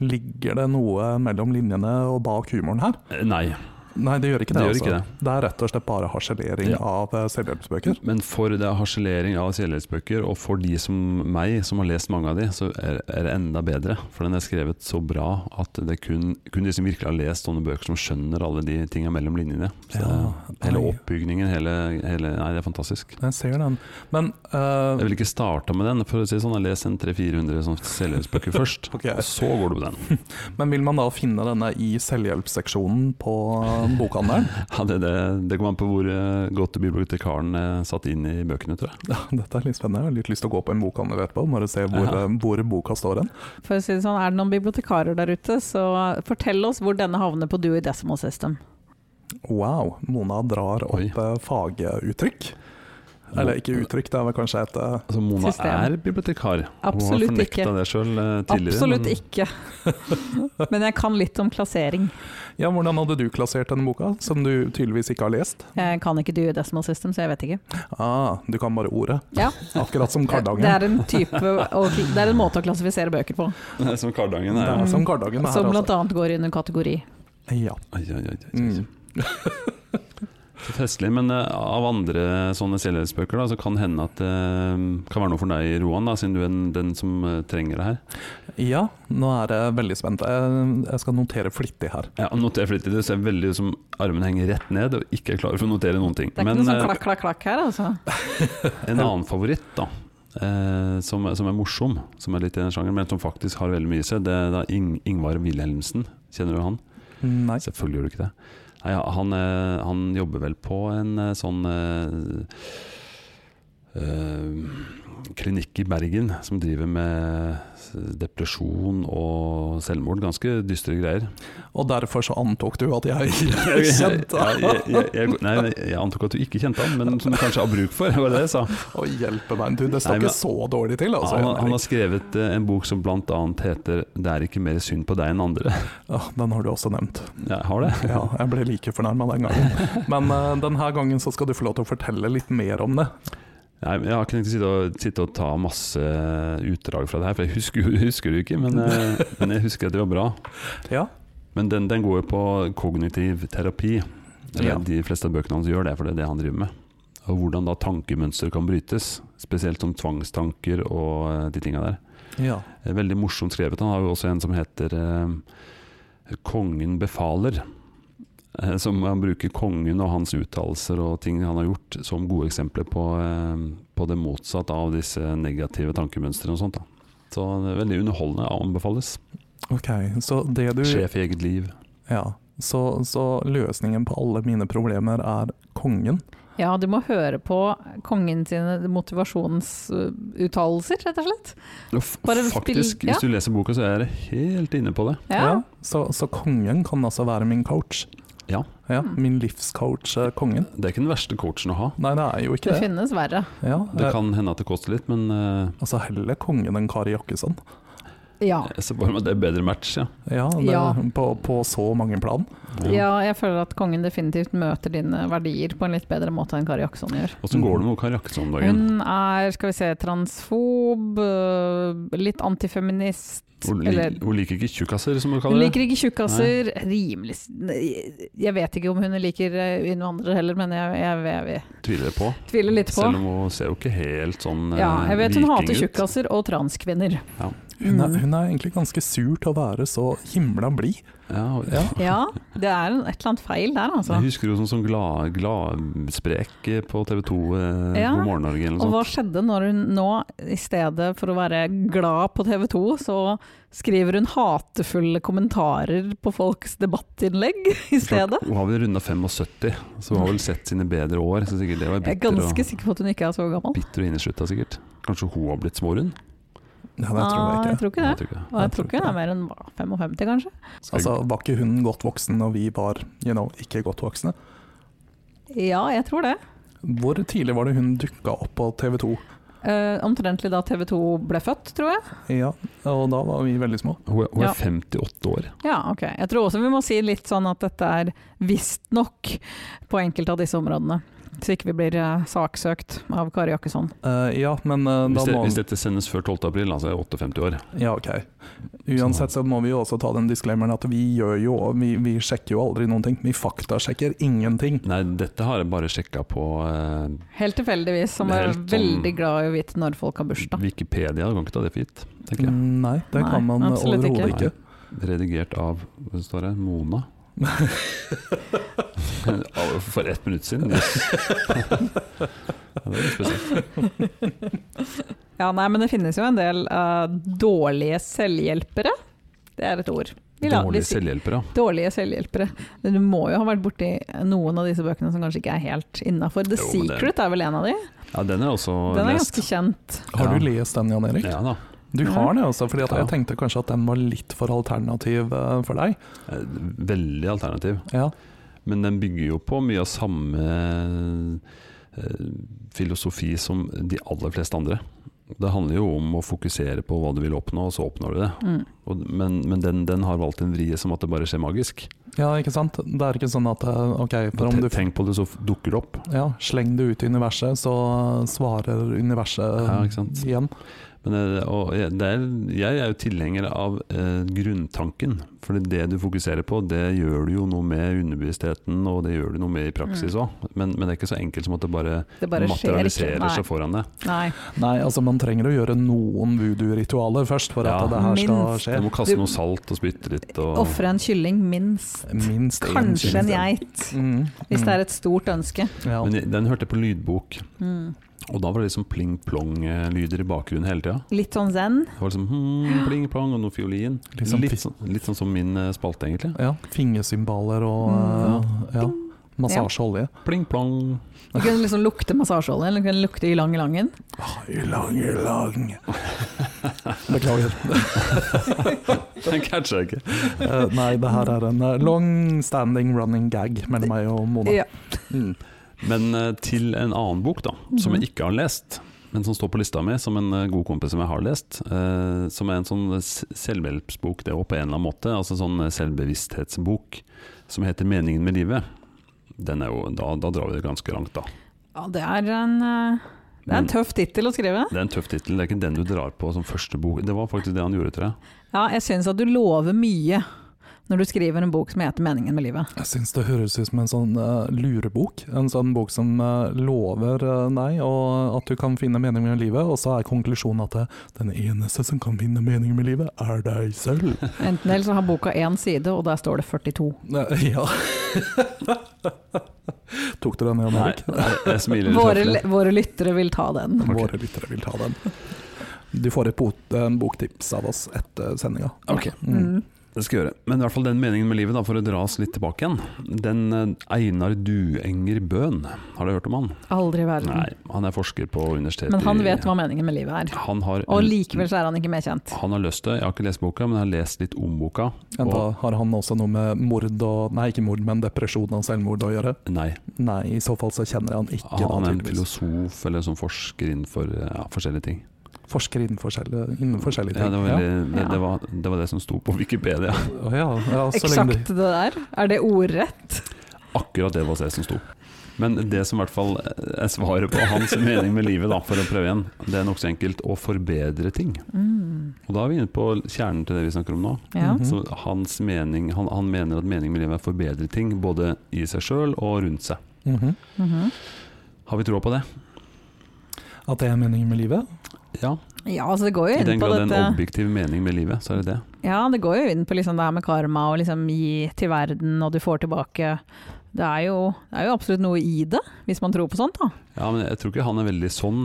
D: Ligger det noe mellom linjene og bak humoren her?
B: Eh, Nei.
D: Nei, det gjør ikke det.
B: Det gjør
D: altså.
B: ikke
D: det er rett og slett bare harselering
B: Ja.
D: av eh, selvhjelpsbøker.
B: Men for det er harselering av selvhjelpsbøker, og for de som meg, som har lest mange av de, så er, er det enda bedre. For den er skrevet så bra at det kun, kun de som virkelig har lest sånne bøker, som skjønner alle de tinga mellom linjene. Så det, hele
D: nei,
B: oppbygningen, hele, hele Nei, det er fantastisk.
D: Jeg ser den. Men eh,
B: Jeg ville ikke starta med den, for å si det sånn. Jeg har lest en 300-400 sånne sånn selvhjelpsbøker først,
D: Ok.
B: og så går du på den.
D: Men vil man da finne denne i selvhjelpsseksjonen på eh, bokhandelen?
B: Ja, det, det, det kommer an på hvor eh, godt bibliotekaren eh, satt inn i bøkene, tror jeg.
D: Ja, Dette er litt spennende. Jeg har litt lyst til å gå på en bokhandel etterpå og bare se hvor,
B: Ja.
D: eh, hvor boka står hen.
C: For å si det sånn, er det noen bibliotekarer der ute, så fortell oss hvor denne havner på Dewey Decimal System.
D: Wow, Mona drar opp
B: Oi.
D: eh, faguttrykk. Eller ikke uttrykk, det er vel kanskje et eh,
B: Altså, Mona
C: System.
B: er bibliotekar.
C: Absolutt
B: Hun har fornekta
C: ikke.
B: det sjøl tidligere.
C: Absolutt
B: men-
C: ikke. Men jeg kan litt om klassering.
D: Ja, hvordan hadde du klassert denne boka, som du tydeligvis ikke har lest?
C: Jeg kan ikke Dewey Decimal System, så jeg vet ikke.
D: Ah, du kan bare ordet.
C: Ja,
D: Akkurat som
C: det
D: Kardangen.
C: er en, type, å- det er en måte å klassifisere bøker på,
B: Det er som Kardangen
D: Det
B: er.
D: er som Kardangen her,
C: som
D: altså.
C: bl.a. går under kategori.
D: Ja.
B: Oi, oi, oi, oi.
D: Mm.
B: Så festlig. Men eh, av andre sånne selvhjelpsbøker da, så kan hende at det kan være noe for deg, Roan, da, siden du er den, den som eh, trenger det her.
D: ja, nå er jeg veldig spent. Jeg, jeg skal notere flittig her.
B: Ja, noter flittig. Du ser veldig ut som armen henger rett ned og ikke er klar for å notere noen ting.
C: Det er ikke
B: Men
C: noe sånn
B: eh,
C: klakk, klakk, klakk her, altså.
B: en annen favoritt, da. eh, som, som er morsom, som er litt i den sjangeren, men som faktisk har veldig mye i seg, det er da Ing Ingvar Wilhelmsen. Kjenner du han?
D: Nei.
B: Selvfølgelig gjør du ikke det. Nei, ja, han, eh, han jobber vel på en eh, sånn eh, eh, klinikk i Bergen som driver med s- depresjon og selvmord. Ganske dystre greier.
D: Og derfor så antok du at jeg kjente
B: Ja, jeg, jeg, jeg, nei, jeg antok at du ikke kjente han, men som du kanskje har bruk for. var det jeg sa.
D: Å hjelpe meg, du, det står
B: Nei, men-
D: ikke så dårlig til. Altså,
B: Han, han
D: Henrik.
B: har skrevet eh, en bok som bl.a. heter 'Det er ikke mer synd på deg enn andre'.
D: Ja, den har du også nevnt.
B: Jeg har det.
D: Ja, jeg ble like fornærma den gangen. Men eh, denne gangen så skal du få lov til å fortelle litt mer om det.
B: Nei, men Jeg har ikke tenkt å sitte og, sitte og ta masse eh, utdrag fra det her, for jeg husker, husker det jo ikke. Men, eh, men jeg husker at det var bra.
D: Ja,
B: Men den, den går jo på kognitiv terapi. Eller
D: Ja.
B: De fleste av bøkene hans gjør det, for det er det han driver med. Og hvordan da tankemønster kan brytes, spesielt som tvangstanker og eh, de tinga der.
D: ja.
B: Eh, Veldig morsomt skrevet. Han har jo også en som heter eh, 'Kongen befaler'. eh, Som han bruker kongen og hans uttalelser og ting han har gjort som gode eksempler på, eh, på det motsatte av disse negative tankemønstrene og sånt. Da. Så det er veldig underholdende, anbefales.
D: Ok, så det du
B: Sjef i eget liv.
D: Ja. Så, så løsningen på alle mine problemer er kongen?
C: Ja, du må høre på kongen sine motivasjonsuttalelser, rett og slett.
B: F
C: Bare
B: faktisk,
C: spill- ja.
B: hvis du leser boka, så er jeg helt inne på det.
C: Ja.
D: Så, så kongen kan altså være min coach?
B: Ja.
D: ja
C: Mm.
D: min livscoach, eh, kongen?
B: Det er ikke den verste coachen å ha.
D: Nei, det er jo ikke
C: Det
D: det.
C: finnes verre.
D: Ja,
B: Det
D: eh,
B: kan hende at det koster litt, men eh,
D: Altså heller kongen enn Kari Jakkesson.
C: Ja.
B: jeg ser bare at det er bedre match, ja.
D: Ja, det,
C: Ja.
D: På, på så mange plan.
C: ja, jeg føler at kongen definitivt møter dine verdier på en litt bedre måte enn Kari Jakkesson gjør.
B: Åssen går det med Kari Jakkesson om dagen?
C: Hun er, skal vi se, transfob, øh, litt antifeminist.
B: Hun, li
C: Eller
B: hun liker ikke tjukkaser, som hun
C: hun
B: kaller det.
C: liker ikke tjukkaser. Rimelig s- nei, Jeg vet ikke om hun liker øh, innvandrere heller, men jeg, jeg, jeg, jeg
B: Tviler jeg på.
C: tviler litt på.
B: Selv om hun ser jo ikke helt sånn eh,
C: Ja, jeg vet hun
B: viking
C: hater
B: ut.
C: tjukkaser og transkvinner.
D: Hun
C: Mm.
D: er, hun er egentlig ganske sur til å være så himla blid.
B: Ja, og-
D: Ja.
C: Ja, det er en- et eller annet feil der, altså.
B: Jeg husker jo sånn, sånn glad, gladsprek eh, på TV 2 eh,
C: Ja.
B: God morgen Norge eller
C: Og
B: noe
C: hva
B: sånt.
C: skjedde når hun nå, i stedet for å være glad på TV 2, så skriver hun hatefulle kommentarer på folks debattinnlegg i stedet?
B: Klart, Hun har vel runda 75, så hun har vel sett sine bedre år. Så sikkert det var
C: Jeg er
B: bitter og,
C: ganske sikker på at hun ikke er så gammel.
B: bitter og inneslutta, sikkert. Kanskje hun har blitt smårund?
D: Ja, det tror
C: Ah,
D: jeg
C: jeg
D: ikke.
C: tror ikke
B: Nei,
C: det.
B: jeg tror ikke det.
C: Og jeg tror ikke hun er mer enn hva, 55, kanskje?
D: Altså, var ikke hun godt voksen når vi var you know, ikke godt voksne?
C: Ja, jeg tror det.
D: Hvor tidlig var det hun dukka opp på TV 2?
C: Eh, omtrentlig da TV 2 ble født, tror jeg.
D: Ja, og da var vi veldig små.
B: Hun, er- hun
C: Ja.
B: er 58 år.
C: Ja, ok. Jeg tror også vi må si litt sånn at dette er visstnok på enkelte av disse områdene. Så ikke vi blir eh, saksøkt av Kari Jakkesson.
D: Eh, ja, men eh, da
B: Hvis, det,
D: må
B: hvis dette sendes før 12. april, altså er jeg 58 år.
D: Ja, ok. Uansett så må vi jo også ta den disclaimeren at vi gjør jo Vi, vi sjekker jo aldri noen ting. Vi faktasjekker ingenting.
B: Nei, dette har jeg bare sjekka på eh,
C: Helt tilfeldigvis, som er
B: Helt sånn-
C: veldig glad i å vite når folk har bursdag.
B: Wikipedia. Du kan ikke ta det for gitt, tenker jeg.
D: Nei, det
C: Nei,
D: kan man
C: absolutt
D: overhodet
B: ikke.
D: ikke.
B: Redigert av hva står det, Mona. For ett minutt siden. Yes. Ja, det er litt spesielt.
C: Ja, nei, men det finnes jo en del eh, dårlige selvhjelpere. Det er et ord. Vi la- vi
B: Dårlige
C: sier-
B: selvhjelpere.
C: Dårlige selvhjelpere. Du må jo ha vært borti noen av disse bøkene som kanskje ikke er helt innafor. The
B: Jo, men det-
C: Secret er vel en av de?
B: Ja, den er også
C: Den er
B: lest.
C: ganske kjent.
D: Har
B: Ja.
D: du lest den, Jan Erik?
B: Ja da.
D: Du har det, altså. fordi at
B: Ja.
D: jeg tenkte kanskje at den var litt for alternativ eh, for deg.
B: Eh, Veldig alternativ.
D: Ja.
B: Men den bygger jo på mye av samme eh, filosofi som de aller fleste andre. Det handler jo om å fokusere på hva du vil oppnå, og så oppnår du det.
C: Mm.
B: Og, men men den, den har valgt en vri som at det bare skjer magisk.
D: ja, ikke sant? Det er ikke sånn at eh, OK, for om
B: Ten-
D: du
B: Tenk på det, så f- dukker det opp.
D: ja, sleng det ut i universet, så eh, svarer universet
B: Ja, ikke sant?
D: igjen.
B: Men, eh, og jeg- det er, jeg er jo tilhenger av eh, grunntanken. For det du fokuserer på, det gjør du jo noe med underbevisstheten, og det gjør du noe med i praksis òg. Men, men det er ikke så enkelt som at det bare,
C: Det Mm. bare skjer ikke.
B: materialiserer seg foran deg.
C: Nei.
D: Nei, altså man trenger å gjøre noen voodoo-ritualer først for at
B: Ja.
D: det her skal
C: Minst.
D: skje.
B: Du må kaste
C: Du-
B: noe salt og spytte litt. Og,
C: Ofre en kylling, minst.
D: Minst én
C: Kanskje en
D: kylling.
C: geit,
D: Mm.
C: hvis det er et stort ønske.
D: ja.
B: Men jeg- den hørte jeg på lydbok,
C: Mm.
B: og da var det liksom pling-plong-lyder i bakgrunnen hele tida.
C: Litt sånn zen.
B: Det var liksom hmm, pling-plong og noe fiolin.
D: Litt sånn
B: Litt,
D: fi-
B: sånn, litt sånn som min eh, spalte, egentlig.
D: Ja, fingersymbaler og
C: Mm.
D: eh, ja, massasjeolje.
B: Pling-plong.
C: Du kunne liksom lukte massasjeolje, eller du kunne lukte ylang-ylangen.
D: Ylang, ylang. Beklager.
B: Den catcha jeg ikke.
D: Eh, nei, det her er en eh, long standing running gag mellom meg og Mona.
C: Ja.
D: Mm.
B: Men eh, til en annen bok, da, som jeg ikke har lest. Men som står på lista mi, som en eh, god kompis som jeg har lest. eh, som er en sånn s- selvhjelpsbok, det òg, på en eller annen måte. Altså sånn eh, selvbevissthetsbok som heter 'Meningen med livet'. Den er jo, da, da drar vi det ganske langt, da.
C: Ja, det er en, eh, det er en
B: Men-
C: tøff tittel å skrive.
B: Det er en tøff tittel. Det er ikke den du drar på som første bok. Det var faktisk det han gjorde, tror jeg.
C: Ja, jeg syns at du lover mye når du skriver en bok som heter 'Meningen med livet'.
D: Jeg syns det høres ut som en sånn eh, lurebok. En sånn bok som eh, lover eh, deg og at du kan finne mening med livet, og så er konklusjonen at eh, den eneste som kan finne mening med livet, er deg selv.
C: Enten eller så har boka én side, og der står det 42.
D: Eh, ja. Tok du den, Jan
B: Nei, eh,
D: Erik?
B: jeg, jeg smiler litt
C: Våre,
B: høflig.
C: våre lyttere vil ta den.
B: Ok.
D: Våre lyttere vil ta den. Du får et bot, en boktips av oss etter sendinga.
B: Ok,
D: Mm.
C: Mm.
B: det skal jeg gjøre. Men i hvert fall den meningen med livet, da, for å dra oss litt tilbake igjen. Den eh, Einar Duenger Bøhn, har du hørt om han?
C: Aldri i
B: Nei,
C: verden.
B: han er forsker på universitetet
C: Men han
B: i-
C: vet hva meningen med livet er.
B: han har,
C: Og likevel så er han ikke mer kjent.
B: Han har lyst til, jeg har ikke lest boka, men jeg har lest litt om boka.
D: Men da har han også noe med mord og Nei, ikke mord, men depresjon og selvmord å gjøre?
B: Nei,
D: Nei, i så fall så kjenner jeg han ikke.
B: han, Ah, han
D: da,
B: er en
D: tydeligvis.
B: filosof eller en sånn forsker innenfor eh, ja, forskjellige ting.
D: Forsker innen forskjellige, innen forskjellige
B: Ja,
D: ting.
B: det, var veldig, det,
C: Ja.
B: det, var, det var det som sto på Wikipedia.
D: Å ja, ja, så lenge
C: Eksakt det der. Er det ordrett?
B: Akkurat det var det som sto. Men det som i hvert fall er svaret på hans mening med livet, da, for å prøve igjen, det er nokså enkelt å forbedre ting.
C: Mm.
B: Og da er vi inne på kjernen til det vi snakker om nå.
C: Ja.
D: Mhm.
B: Så hans mening, han, han mener at meningen med livet er å forbedre ting, både i seg sjøl og rundt seg.
D: Mhm.
C: Mhm.
B: Har vi troa på det?
D: At det er meningen med livet?
B: Ja.
C: Ja, altså det går jo
B: I
C: inn
B: den
C: på
B: grad det er en
C: dette
B: objektiv mening med livet, så er det det.
C: Ja, det går jo inn på liksom det her med karma og liksom gi til verden og du får tilbake. Det er jo, det er jo absolutt noe i det, hvis man tror på sånt da.
B: Ja, men jeg tror ikke han er veldig sånn.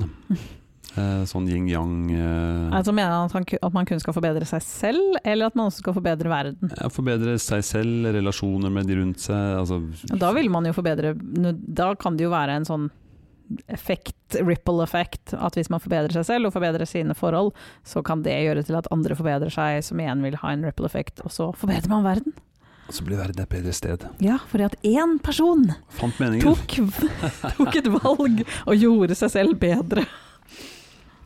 B: Eh, sånn yin-yang eh,
C: Altså mener han at, han ku- at man kun skal forbedre seg selv, eller at man også skal forbedre verden.
B: ja, Forbedre seg selv, relasjoner med de rundt seg. Altså,
C: Og Da vil man jo forbedre nå- Da kan det jo være en sånn effekt, ripple effect, at hvis man forbedrer seg selv og forbedrer sine forhold, så kan det gjøre til at andre forbedrer seg, som igjen vil ha en ripple effect, og så forbedrer man verden.
B: så blir verden et bedre sted.
C: Ja, fordi at én person
B: Fant meningen.
C: tok, tok et valg og gjorde seg selv bedre.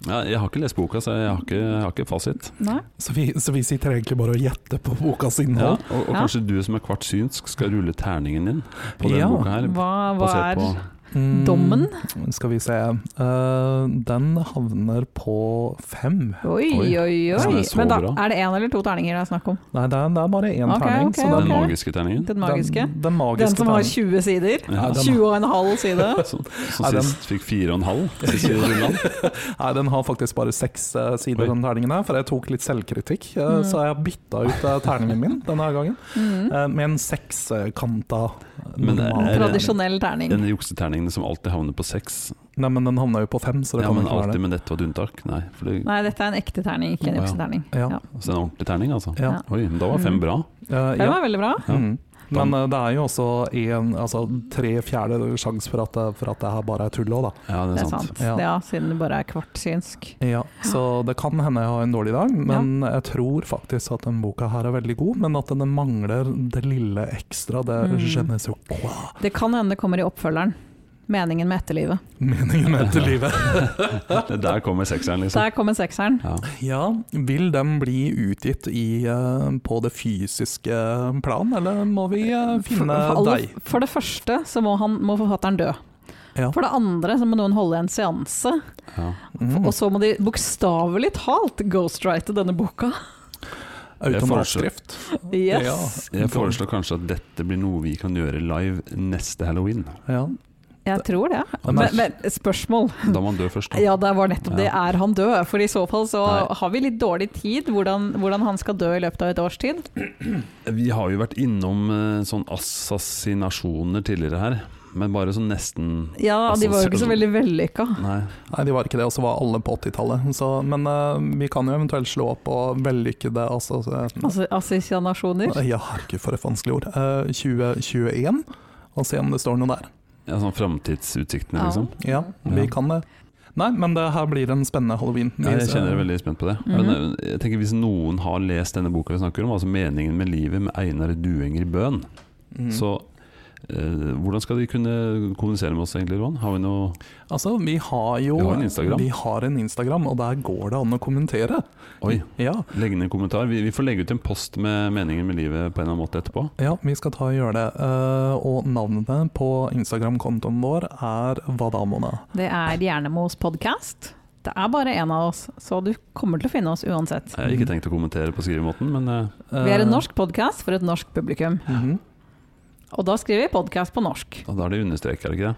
B: Ja, jeg har ikke lest boka, så jeg har ikke, jeg har ikke fasit.
C: Nei.
D: Så vi, så vi sitter egentlig bare og gjetter på bokas
B: Ja,
D: innhold?
B: og og
C: Ja.
B: kanskje du som er kvart synsk skal rulle terningen din på den
D: Ja.
B: boka her.
C: Hva, hva
B: basert
C: er
B: på
D: Mm,
C: Dommen?
D: Skal vi se. Eh, den havner på fem.
C: Oi, oi,
B: Oi.
C: oi.
B: Ja, det er så
C: Men da
B: bra.
C: er det én eller to terninger det er snakk om?
D: Nei, det er, det er bare én
C: Ok,
D: terning.
C: ok,
D: så
B: Den
C: ok.
D: den,
B: magiske terningen.
C: Den magiske?
D: Den, den magiske
C: Den som har
D: terningen.
C: 20 sider?
B: Ja,
D: den-
C: 20 og en halv side?
B: Som,
D: Nei,
B: som
D: den-
B: sist fikk fire og en halv. Sist vi rundet den.
D: Nei, den har faktisk bare seks eh, sider,
B: Oi.
D: den terningen her, for jeg tok litt selvkritikk. eh,
C: Mm.
D: Så jeg bytta ut eh, terningen min denne gangen
C: Mm.
D: eh, med en sekskanta. eh,
B: Men det er-
D: normal terning.
C: Tradisjonell terning.
B: Denne jukseterningene som alltid havner på seks.
D: Nei, men den havna jo på fem, så det
B: Ja,
D: kan
B: men
D: ikke være
B: alltid,
D: det.
B: men dette var et unntak. Nei, for det,
C: Nei, dette er en ekte terning, ikke
B: Å,
C: en
B: ja.
C: jukseterning.
D: Ja.
B: altså en ordentlig terning, altså.
D: Ja.
C: Ja.
B: Oi, men da var fem
C: Mm.
B: bra.
D: Eh,
C: Den
D: ja.
C: var veldig bra.
B: Ja.
D: Mm. Men eh, det er jo også en, altså, tre fjerde sjanse for at, det- for at det her bare er tull òg, da.
B: Ja, det er
C: Det er
B: sant.
C: sant.
D: Ja.
C: Ja, siden det bare er kvart synsk.
D: Ja, så det kan hende jeg har en dårlig dag, men jeg tror faktisk at den boka her er veldig god, men at den mangler det lille ekstra, det
C: Mm.
D: je ne sais quoi,
C: Det kan hende det kommer i oppfølgeren. Meningen med etterlivet.
D: meningen med dette livet.
B: Det der kommer sekseren, liksom.
C: Der kommer sekseren.
B: Ja.
D: Ja, vil den bli utgitt i, eh, på det fysiske plan, eller må vi eh,
C: For,
D: finne
C: for, alle-
D: deg?
C: for det første så må, han, må forfatteren dø.
D: Ja.
C: For det andre så må noen holde en seanse,
B: Ja.
D: Mm.
C: og så må de bokstavelig talt ghostwrite denne boka.
D: Automatskrift.
C: Yes!
B: Jeg foreslår kanskje at dette blir noe vi kan gjøre live neste halloween.
D: Ja.
C: Jeg tror det.
D: Men-
C: Men, men spørsmål?
B: Da må han dø først. Da.
C: Ja, det var nettopp det. Er han død? For i så fall så
B: Nei.
C: har vi litt dårlig tid, hvordan, hvordan han skal dø i løpet av et års tid.
B: Vi har jo vært innom eh, sånn assassinasjoner tidligere her, men bare sånn nesten
C: Ja, de
B: Altså,
C: var jo ikke så
B: så-
C: veldig vellykka.
B: Nei.
D: Nei, de var ikke det, og så var alle på 80-tallet. Så- Men eh, vi kan jo eventuelt slå opp og vellykkede altså, eh,
C: Altså assosiasjoner.
D: Ja, herregud, for et vanskelig ord. Eh, 2021, og se om det står noe der.
B: Ja, sånn framtidsutsiktene,
C: Ja.
B: liksom.
D: Ja, vi
B: Ja.
D: kan det. Nei, men det her blir en spennende halloween. Vi-
B: Ja, jeg kjenner jeg er veldig spent på det. Men
C: Mhm.
B: eh, jeg tenker Hvis noen har lest denne boka vi snakker om, altså 'Meningen med livet' med Einar Duenger Bøhn,
D: Mm.
B: så eh, hvordan skal de kunne kommunisere med oss egentlig, Roan? Har vi noe
D: Altså, vi har jo
B: Vi har en Instagram.
D: vi har en Instagram, og der går det an å kommentere.
B: Oi,
D: Ja,
B: legg ned en kommentar. Vi, vi får legge ut en post med 'Meningen med livet' på en eller annen måte etterpå.
D: ja vi skal ta og gjøre det. Eh, og navnet på Instagram-kontoen vår er Vadamona.
C: Det er Hjernemos podkast. Det er bare én av oss, så du kommer til å finne oss uansett.
B: Jeg har ikke tenkt å kommentere på skrivemåten, men eh,
D: Eh,
C: Vi er en norsk podkast for et norsk publikum,
D: mhm.
C: og da skriver vi podkast på norsk.
B: da er det understreket, er det ikke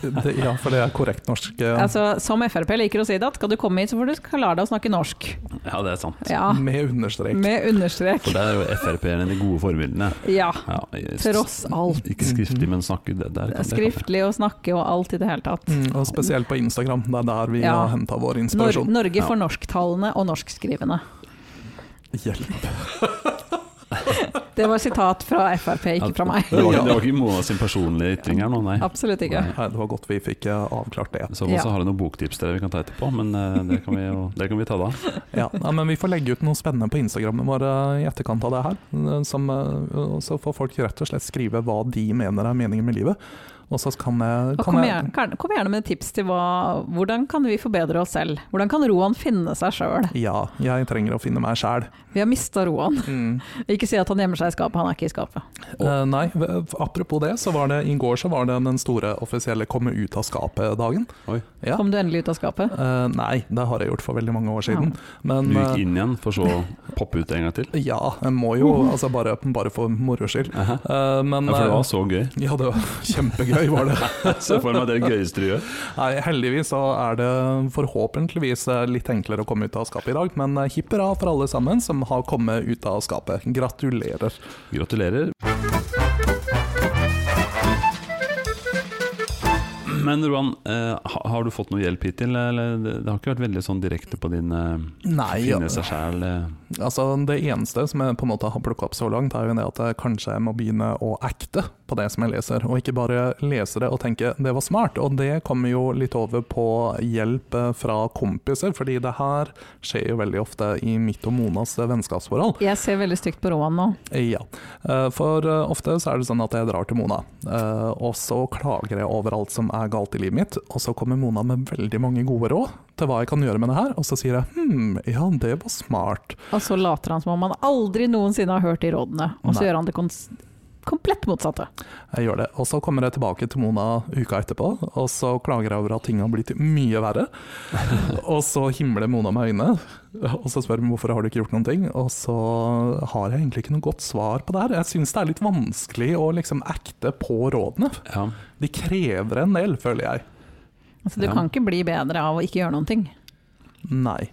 B: det?
D: det, ja, for det er korrekt norsk. eh,
C: Altså, som Frp liker å si det, at skal du komme hit, så får du lære deg å snakke norsk.
B: Ja, det er sant.
C: Ja,
D: Med understrek.
C: Med understrek.
B: For der er jo Frp-erne de gode forbildene.
C: Ja,
B: Ja, jeg-
C: tross alt.
B: Ikke skriftlig, men snakket. Det, der kan det-
C: Skriftlig og snakke og alt i det hele tatt.
D: Mm, og spesielt på Instagram, det er der vi
C: Ja.
D: har henta vår
C: Nor
D: inspirasjon.
C: Norge
B: Ja.
C: for norsktalende og norskskrivende.
D: Hjelp.
C: Det var sitat fra Frp, ikke fra meg.
B: Det var, ikke- det var ikke Mona sin personlige ytring her nå, nei.
C: Absolutt ikke.
B: Nei.
D: Nei, det var godt vi fikk eh, avklart det.
B: Så også
C: Ja.
B: har jeg noen boktips til dere vi kan ta etterpå, men eh, det kan vi, jo, det kan vi ta da.
D: Ja, nei, men Vi får legge ut noe spennende på Instagrammen vår eh, i etterkant av det her. eh, Som, eh, og så får folk rett og slett skrive hva de mener er meningen med livet. Og så kan jeg,
C: Og
D: kan
C: kom,
D: jeg
C: gjerne, kan- kom gjerne med tips til hva, hvordan kan vi forbedre oss selv? Hvordan kan Roan finne seg sjøl?
D: Ja, jeg trenger å finne meg sjæl.
C: Vi har mista Roan.
D: Mm.
C: Ikke si at han gjemmer seg i skapet, han er ikke i skapet.
D: Eh, nei, v- apropos det, så var det i går så var det den store offisielle komme ut av skapet-dagen.
B: Oi.
D: Ja.
C: Kom du endelig ut av skapet?
D: Eh, nei, det har jeg gjort for veldig mange år siden.
B: Du
D: Men
B: gikk
D: eh,
B: inn igjen, for så å poppe ut en gang til.
D: ja, jeg må jo altså bare, bare for moro skyld.
B: Uhuh. Aha.
D: Eh, men
B: Ja, for det var
D: eh,
B: så gøy.
D: ja, det var kjempegøy, var det.
B: Se for meg det er det gøyeste du gjør.
D: Nei, heldigvis så er det forhåpentligvis eh, litt enklere å komme ut av skapet i dag, men eh, hipp hurra for alle sammen som har kommet ut av skapet. Gratulerer.
B: Gratulerer. Men Roan, eh, ha- har du fått noe hjelp hittil? Eller? Det det har ikke vært veldig sånn direkte på din eh,
D: Nei, ja,
B: finne seg sjæl eh.
D: altså det eneste som jeg på en måte har plukka opp så langt, er jo det at jeg kanskje jeg må begynne å acte på det som jeg leser, og ikke bare lese det og tenke det var smart. Og det kommer jo litt over på hjelp eh, fra kompiser, fordi det her skjer jo veldig ofte i mitt og Monas eh, vennskapsforhold.
C: Jeg ser veldig stygt på Roan nå.
D: Ja, eh, for eh, ofte så er det sånn at jeg drar til Mona, eh, og så klager jeg over alt som er galt i livet mitt, og så kommer Mona med veldig mange gode råd til hva jeg kan gjøre med det her, og så sier jeg hm, ja, det var smart.
C: Og så later han som om han aldri noensinne har hørt de rådene, og så
D: Nei.
C: gjør han det kons komplett motsatte.
D: Jeg gjør det. Og så kommer jeg tilbake til Mona uka etterpå, og så klager jeg over at ting har blitt mye verre. Og så himler Mona med øynene, og så spør hun hvorfor har du ikke gjort noen ting. Og så har jeg egentlig ikke noe godt svar på det her. Jeg syns det er litt vanskelig å liksom acte på rådene.
B: Ja.
D: De krever en del, føler jeg.
C: Altså, du
B: Ja.
C: kan ikke bli bedre av å ikke gjøre noen ting.
D: Nei.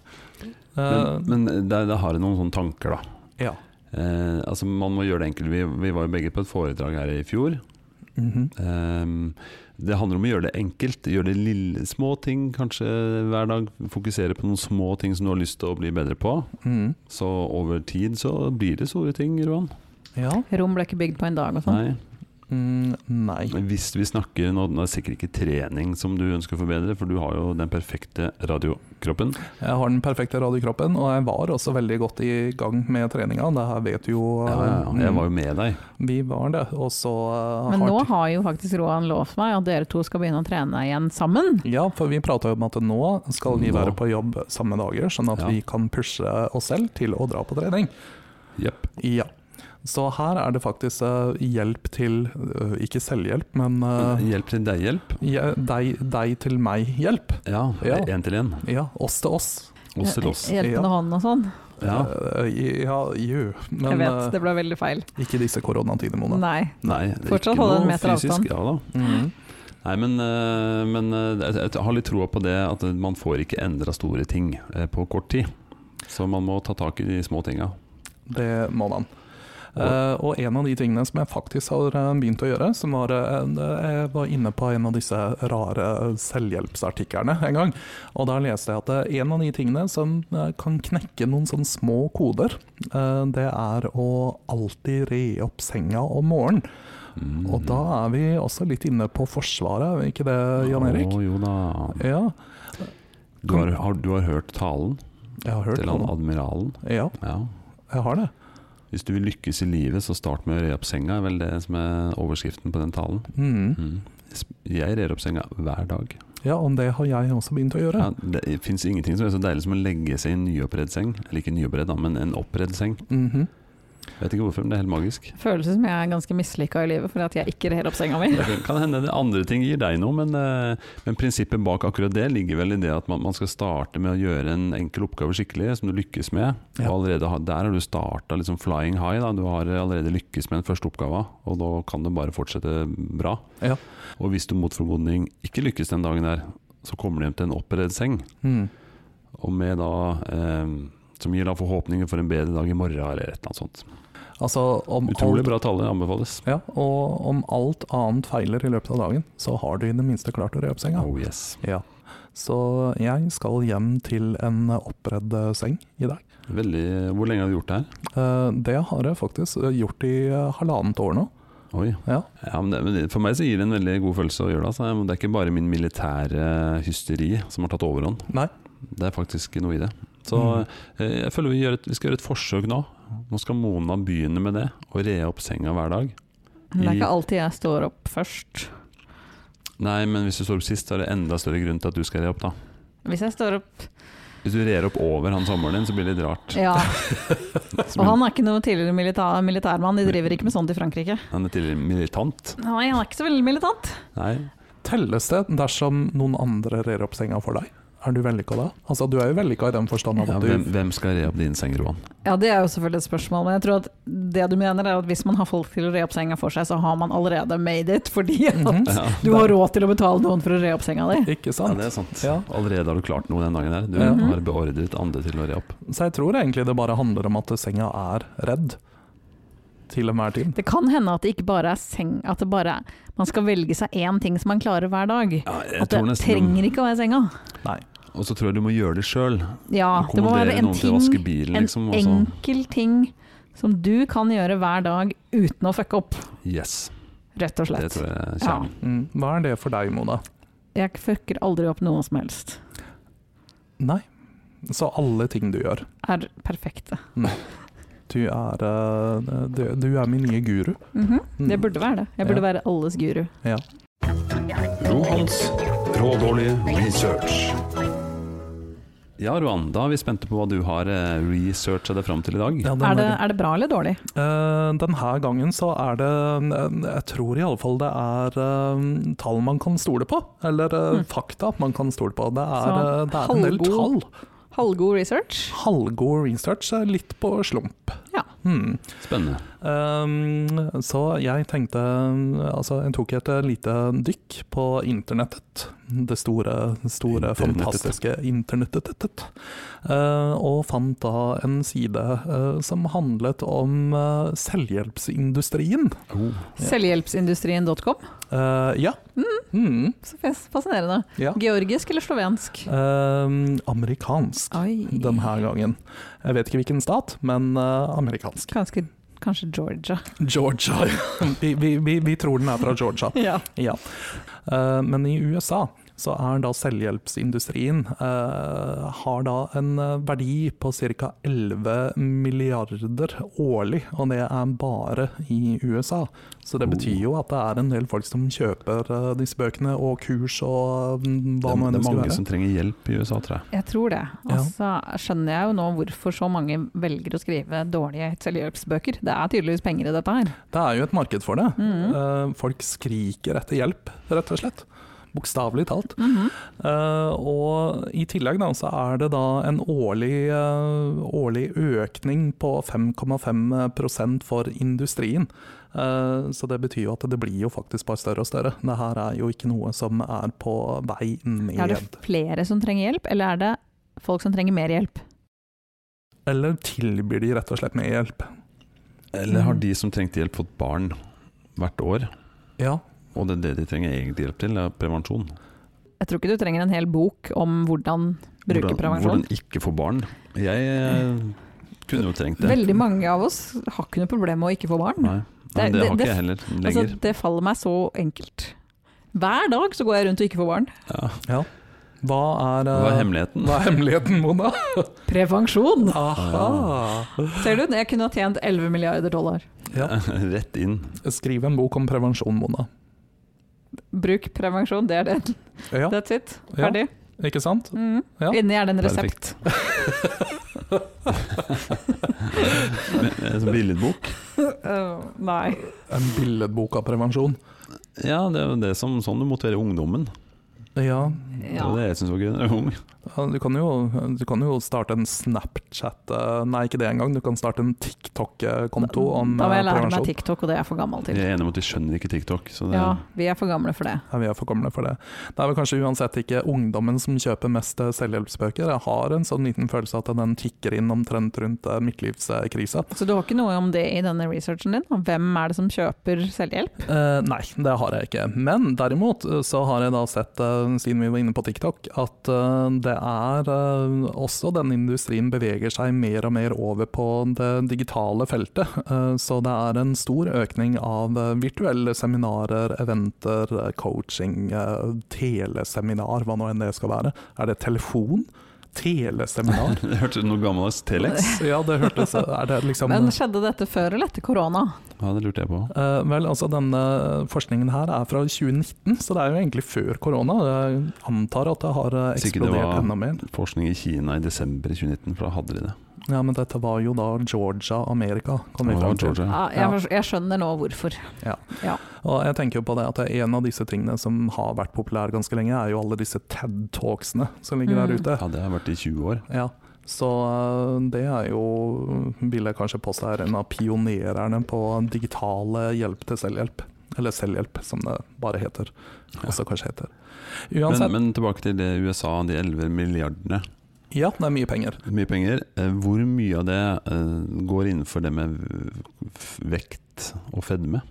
D: Eh,
B: Men, men der, der har jeg noen sånne tanker, da.
D: ja.
B: Eh, altså Man må gjøre det enkelt. Vi, vi var jo begge på et foredrag her i fjor.
D: Mhm.
B: Ehm, det handler om å gjøre det enkelt. Gjøre det lille, små ting kanskje hver dag. Fokusere på noen små ting som du har lyst til å bli bedre på.
D: Mhm.
B: Så over tid så blir det store ting, Roan.
D: Ja.
C: Rom ble ikke bygd på en dag og sånn.
B: Nei.
D: Mm, nei.
B: Hvis vi snakker nå, nå er det sikkert ikke trening som du ønsker å forbedre, for du har jo den perfekte radiokroppen.
D: Jeg har den perfekte radiokroppen, og jeg var også veldig godt i gang med treninga. Det her vet jo
B: Ja, ja, ja. Jeg var jo med deg.
D: Vi var det, og så eh,
C: Men
D: har
C: nå
D: ti-
C: har jo faktisk Roan lovt meg at dere to skal begynne å trene igjen sammen.
D: Ja, for vi prata jo om at nå skal vi
B: Nå.
D: være på jobb samme dager, sånn at
B: Ja.
D: vi kan pushe oss selv til å dra på trening.
B: Jepp.
D: Ja. Så her er det faktisk eh, hjelp til eh, Ikke selvhjelp, men eh,
B: Hjelp til deg-hjelp.
D: je- deg, deg til meg-hjelp.
B: Ja,
D: Ja.
B: én til én.
D: Ja, oss til oss.
B: Oss til oss.
D: Ja.
C: Hjelpende hånd og sånn.
B: Ja.
D: Eh, ja,
C: Jeg
D: jo. Men
C: vet,
D: eh,
C: det ble veldig feil.
D: ikke disse koronatider, Mona.
C: Nei.
B: Nei, det er
C: Fortsatt
B: ikke
C: holde en
B: noe
C: meter avstand.
B: fysisk, Ja, da.
D: Mhm.
B: Nei, men, øh, men øh, jeg- jeg har litt troa på det at man får ikke endra store ting eh, på kort tid. Så man må ta tak i de små tinga.
D: Det må man. Eh, og en av de tingene som jeg faktisk har eh, begynt å gjøre, som var eh, en- eh, Jeg var inne på en av disse rare selvhjelpsartiklene en gang. Og der leste jeg at eh, en av de tingene som eh, kan knekke noen sånne små koder, eh, det er å alltid re opp senga om morgenen.
B: Mm.
D: Og da er vi også litt inne på Forsvaret, er vi ikke det, Jan Erik?
B: Å, jo da.
D: Ja,
B: Du har, har, du har hørt talen
D: jeg har hørt
B: til han
D: det.
B: admiralen?
D: Ja,
B: Ja.
D: jeg har det.
B: Hvis du vil lykkes i livet, så start med å re opp senga, er vel det som er overskriften på den talen.
D: Mm.
B: Mm. Jeg rer opp senga hver dag.
D: Ja, og det har jeg også begynt å gjøre.
B: Ja, det fins ingenting som er så deilig som å legge seg i en nyoppredd seng. Eller ikke nyoppredd, da, men en oppredd seng.
D: Mhm.
B: Vet ikke hvorfor, men det er helt magisk.
C: Føles som jeg er ganske mislykka i livet fordi at jeg ikke rer opp senga mi.
B: Det kan hende det andre ting gir deg noe, men, eh, men prinsippet bak akkurat det ligger vel i det at man, man skal starte med å gjøre en enkel oppgave skikkelig, som du lykkes med.
D: Ja.
B: Og allerede har, Der har du starta liksom flying high. Da. Du har allerede lykkes med den første oppgava, og da kan du bare fortsette bra.
D: Ja.
B: Og hvis du mot formodning ikke lykkes den dagen der, så kommer du hjem til en oppredd seng,
D: Mm.
B: og med da eh, som gir da forhåpninger for en bedre dag i morgen, eller et eller annet sånt.
D: Altså, om
B: Utrolig
D: alt-
B: bra tale, anbefales.
D: Ja, og om alt annet feiler i løpet av dagen, så har du i det minste klart å re opp senga.
B: Oh yes.
D: Ja. Så jeg skal hjem til en oppredd eh, seng i dag.
B: Veldig, hvor lenge har du gjort det her?
D: Eh, Det har jeg faktisk eh, gjort i eh, halvannet år nå.
B: Oi.
D: Ja.
B: men det, men det- for meg så gir det en veldig god følelse å gjøre det. Altså. Men Det er ikke bare min militære eh, hysteri som har tatt overhånd.
D: Nei. Mm.
B: Det er faktisk noe i det. Så eh, jeg føler vi, gjør et, vi skal gjøre et forsøk nå. Nå skal Mona begynne med det, og re opp senga hver dag.
C: Men det er ikke alltid jeg står opp først.
B: Nei, men hvis du står opp sist, så er det enda større grunn til at du skal re opp, da.
C: Hvis jeg står opp
B: Hvis du rer opp over han sommeren din, så blir det litt rart.
C: Ja.
B: Som en-
C: Og han er ikke noe tidligere milita- militærmann, de driver ikke med sånt i Frankrike.
B: Han er tidligere militant.
C: Nei, han er ikke så veldig militant.
B: Nei,
D: Telles det dersom noen andre rer opp senga for deg? Er du vellykka da? Altså, du er jo vellykka i den forstand
B: ja,
D: at
B: hvem,
D: du
B: hvem skal re opp din seng, Roan?
C: Ja, det er jo selvfølgelig et spørsmål, men jeg tror at det du mener er at hvis man har folk til å re opp senga for seg, så har man allerede made it, fordi at
D: Mhm.
B: Ja.
C: du har råd til å betale noen for å re opp senga di.
D: Ikke
B: Ja,
D: sant?
B: det er sant.
D: Ja.
B: Allerede har du klart noe den dagen her. Du
D: Ja.
B: har beordret andre til å re opp.
D: Så jeg tror egentlig det bare handler om at senga er redd. Til enhver tid.
C: Det kan hende at det ikke bare er seng, at det bare er, man skal velge seg én ting som man klarer hver dag.
B: Ja, jeg
C: At
B: tror
C: det
B: nesten du-
C: trenger ikke å være senga.
D: Nei.
B: Og så tror jeg du må gjøre det sjøl.
C: Ja, det må være
B: Kommandere
C: en
B: noen til å
C: ting,
B: vaske bilen,
C: en
B: liksom. og så-
C: enkel ting som du kan gjøre hver dag uten å fucke opp,
B: Yes.
C: rett
B: Det
C: og slett.
B: tror jeg er
C: Ja.
B: kjernen.
D: Mm. Hva er det for deg, Mona?
C: Jeg fucker aldri opp noe som helst.
D: Nei. Så alle ting du gjør.
C: Er perfekte.
D: Du er, eh, du, du er min nye guru.
C: Mhm.
D: Mm.
C: Det burde være det. Jeg burde
D: Ja.
C: være alles guru.
D: Ja.
A: Rohans rådårlige research.
B: Ja, Roan, da er vi spente på hva du har eh, researcha deg fram til i dag.
D: Ja, den
C: Er det,
D: var-
C: er det bra eller dårlig?
D: Eh, denne gangen så er det eh, Jeg tror iallfall det er eh, tall man kan stole på. Eller eh,
C: Mm.
D: fakta man kan stole på. Det er,
C: Så,
D: eh, det er en del tall.
C: halvgod- Halvgod research?
D: Halvgod research, eh, litt på slump.
C: Ja.
D: Hmm.
B: Spennende.
D: Um, så jeg tenkte Altså, jeg tok et lite dykk på internettet. Det store, store
B: Internettet.
D: fantastiske internettet. Uh, og fant da en side uh, som handlet om uh, selvhjelpsindustrien.
B: Oh.
C: Selvhjelpsindustrien.com?
D: Uh, ja. Mm.
C: Så fas- Fascinerende.
D: ja.
C: Georgisk eller slovensk?
D: Um, amerikansk
C: Oi.
D: denne gangen. Jeg vet ikke hvilken stat, men uh, amerikansk.
C: Kanskje, kanskje Georgia.
D: Georgia. vi, vi, vi, vi tror den er fra Georgia.
C: Ja.
D: Ja. Eh, Men i USA så er da selvhjelpsindustrien eh, har da en eh, verdi på ca. 11 milliarder årlig, og det er bare i USA. Så det
B: Oh.
D: betyr jo at det er en del folk som kjøper eh, disse bøkene og kurs og
B: Det,
D: mm, hva man
B: det er
D: enn skulle
B: mange
D: være.
B: som trenger hjelp i USA, tror jeg.
C: Jeg tror det.
D: Ja.
C: Altså, skjønner jeg jo nå hvorfor så mange velger å skrive dårlige selvhjelpsbøker. Det er tydeligvis penger i dette her.
D: Det er jo et marked for det.
C: Mhm.
D: Eh, Folk skriker etter hjelp, rett og slett. Bokstavelig talt.
C: Mhm.
D: Eh, og i tillegg da, så er det da en årlig, eh, årlig økning på 5,5 for industrien. Eh, så det betyr jo at det blir jo faktisk bare større og større. Det her er jo ikke noe som er på vei
C: Er det
D: ned.
C: flere som trenger hjelp, eller er det folk som trenger mer hjelp?
D: Eller tilbyr de rett og slett mer hjelp?
B: Eller har
C: Mm.
B: de som trengte hjelp, fått barn hvert år?
D: Ja.
B: Og det er det de trenger egentlig hjelp til, er prevensjon.
C: Jeg tror ikke du trenger en hel bok om hvordan bruke
B: hvordan,
C: prevensjon.
B: hvordan ikke få barn. Jeg eh, kunne jo trengt det.
C: Veldig mange av oss har ikke noe problem med å ikke få barn.
B: Nei,
C: Det
B: Nei,
C: er-
B: det, har
C: det-
B: ikke jeg heller
C: Altså,
B: lenger.
C: det faller meg så enkelt. Hver dag så går jeg rundt og ikke får barn.
B: ja.
D: Hva er, eh,
B: Hva er hemmeligheten?
D: Hva er hemmeligheten, Mona?
C: Prevensjon!
D: Aha.
C: Ser du, jeg kunne ha tjent 11 milliarder dollar.
D: Ja.
B: Rett inn.
D: Skriv en bok om prevensjon, Mona.
C: Bruk prevensjon, det er det.
D: Ja,
C: That's it.
D: Ja.
C: Ferdig.
D: ikke sant?
C: Mm.
D: Ja.
C: Inni er det en resept.
B: Perfekt. Med- med eh, Som billedbok?
C: Øh, nei.
D: En billedbok av prevensjon.
B: Ja, det er jo det som sånn du motiverer ungdommen.
D: Ja,
B: Det var det jeg syns var gøy da jeg var ung.
D: Ja, Du kan, jo, du kan jo starte en Snapchat eh, Nei, ikke det engang. Du kan starte en TikTok-konto om
C: da må jeg
D: eh,
C: lære meg
D: prevensjon.
C: TikTok, og det er jeg for gammel til.
B: Jeg er enig om at de skjønner ikke TikTok. Så det,
C: Ja, vi er for gamle for det.
D: Ja, vi er for gamle for det. Det er vel kanskje uansett ikke ungdommen som kjøper mest eh, selvhjelpsbøker. Jeg har en sånn liten følelse at den tikker inn omtrent rundt eh, midtlivskrisa.
C: Så du har ikke noe om det i denne researchen din? om Hvem er det som kjøper selvhjelp?
D: Eh, nei, det har jeg ikke. Men derimot eh, så har jeg da sett, eh, siden vi var inne på TikTok, at eh, det er eh, også den industrien beveger seg mer og mer over på det digitale feltet. Eh, så det er en stor økning av eh, virtuelle seminarer, eventer, eh, coaching, eh, teleseminar, hva nå enn det skal være. Er det telefon? Teleseminar?
B: det hørtes ut som noe gammeldags Telex.
D: Ja, det hørtes Er det liksom
C: Men skjedde dette før eller etter korona?
B: Ja, det lurte jeg på.
D: Eh, vel, altså Denne forskningen her er fra 2019, så det er jo egentlig før korona. Jeg antar at det har eh,
B: Sikkert det
D: eksplodert
B: var-
D: enda mer.
B: Forskning i Kina i desember 2019, for da hadde de det.
D: Ja, Men dette var jo da Georgia, Amerika. Kom vi
B: Det var
D: frem til.
B: Georgia.
C: Ja, jeg, for- jeg skjønner nå hvorfor.
D: Og jeg tenker jo på det at det er En av disse tingene som har vært populær ganske lenge, er jo alle disse TED-talksene som ligger der
C: Mm.
D: ute.
B: Ja, det har vært i 20 år.
D: Ja, Så eh, det er jo, vil jeg kanskje påstå, er en av pionerene på digitale hjelp til selvhjelp. Eller selvhjelp, som det bare heter. Også kanskje heter.
B: Men,
D: Uansett,
B: men tilbake til det USA, de 11 milliardene.
D: ja, det er mye penger.
B: Mye penger. Eh, Hvor mye av det eh, går innenfor det med f- vekt og fedme?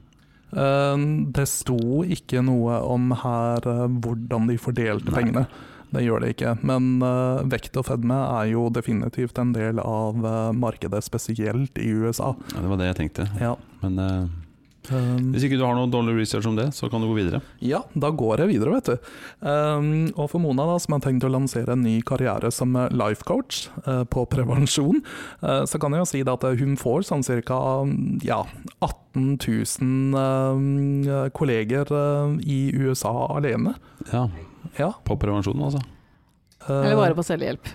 D: Eh, Det sto ikke noe om her eh, hvordan de fordelte
B: Nei.
D: pengene. Det gjør det ikke. Men eh, vekt og fedme er jo definitivt en del av eh, markedet, spesielt i USA.
B: Ja, det var det jeg tenkte.
D: Ja.
B: Men eh,
D: Um,
B: hvis ikke du har noe dårlig research om det, så kan du gå videre.
D: ja, da går jeg videre, vet du. Um, og for Mona, da, som har tenkt å lansere en ny karriere som life coach eh, på prevensjon, eh, så kan jeg jo si det at hun får sånn ca. Ja, 18 000 eh, kolleger eh, i USA alene.
B: Ja,
D: Ja.
B: På prevensjon, altså.
D: Eh,
C: Eller bare på selvhjelp.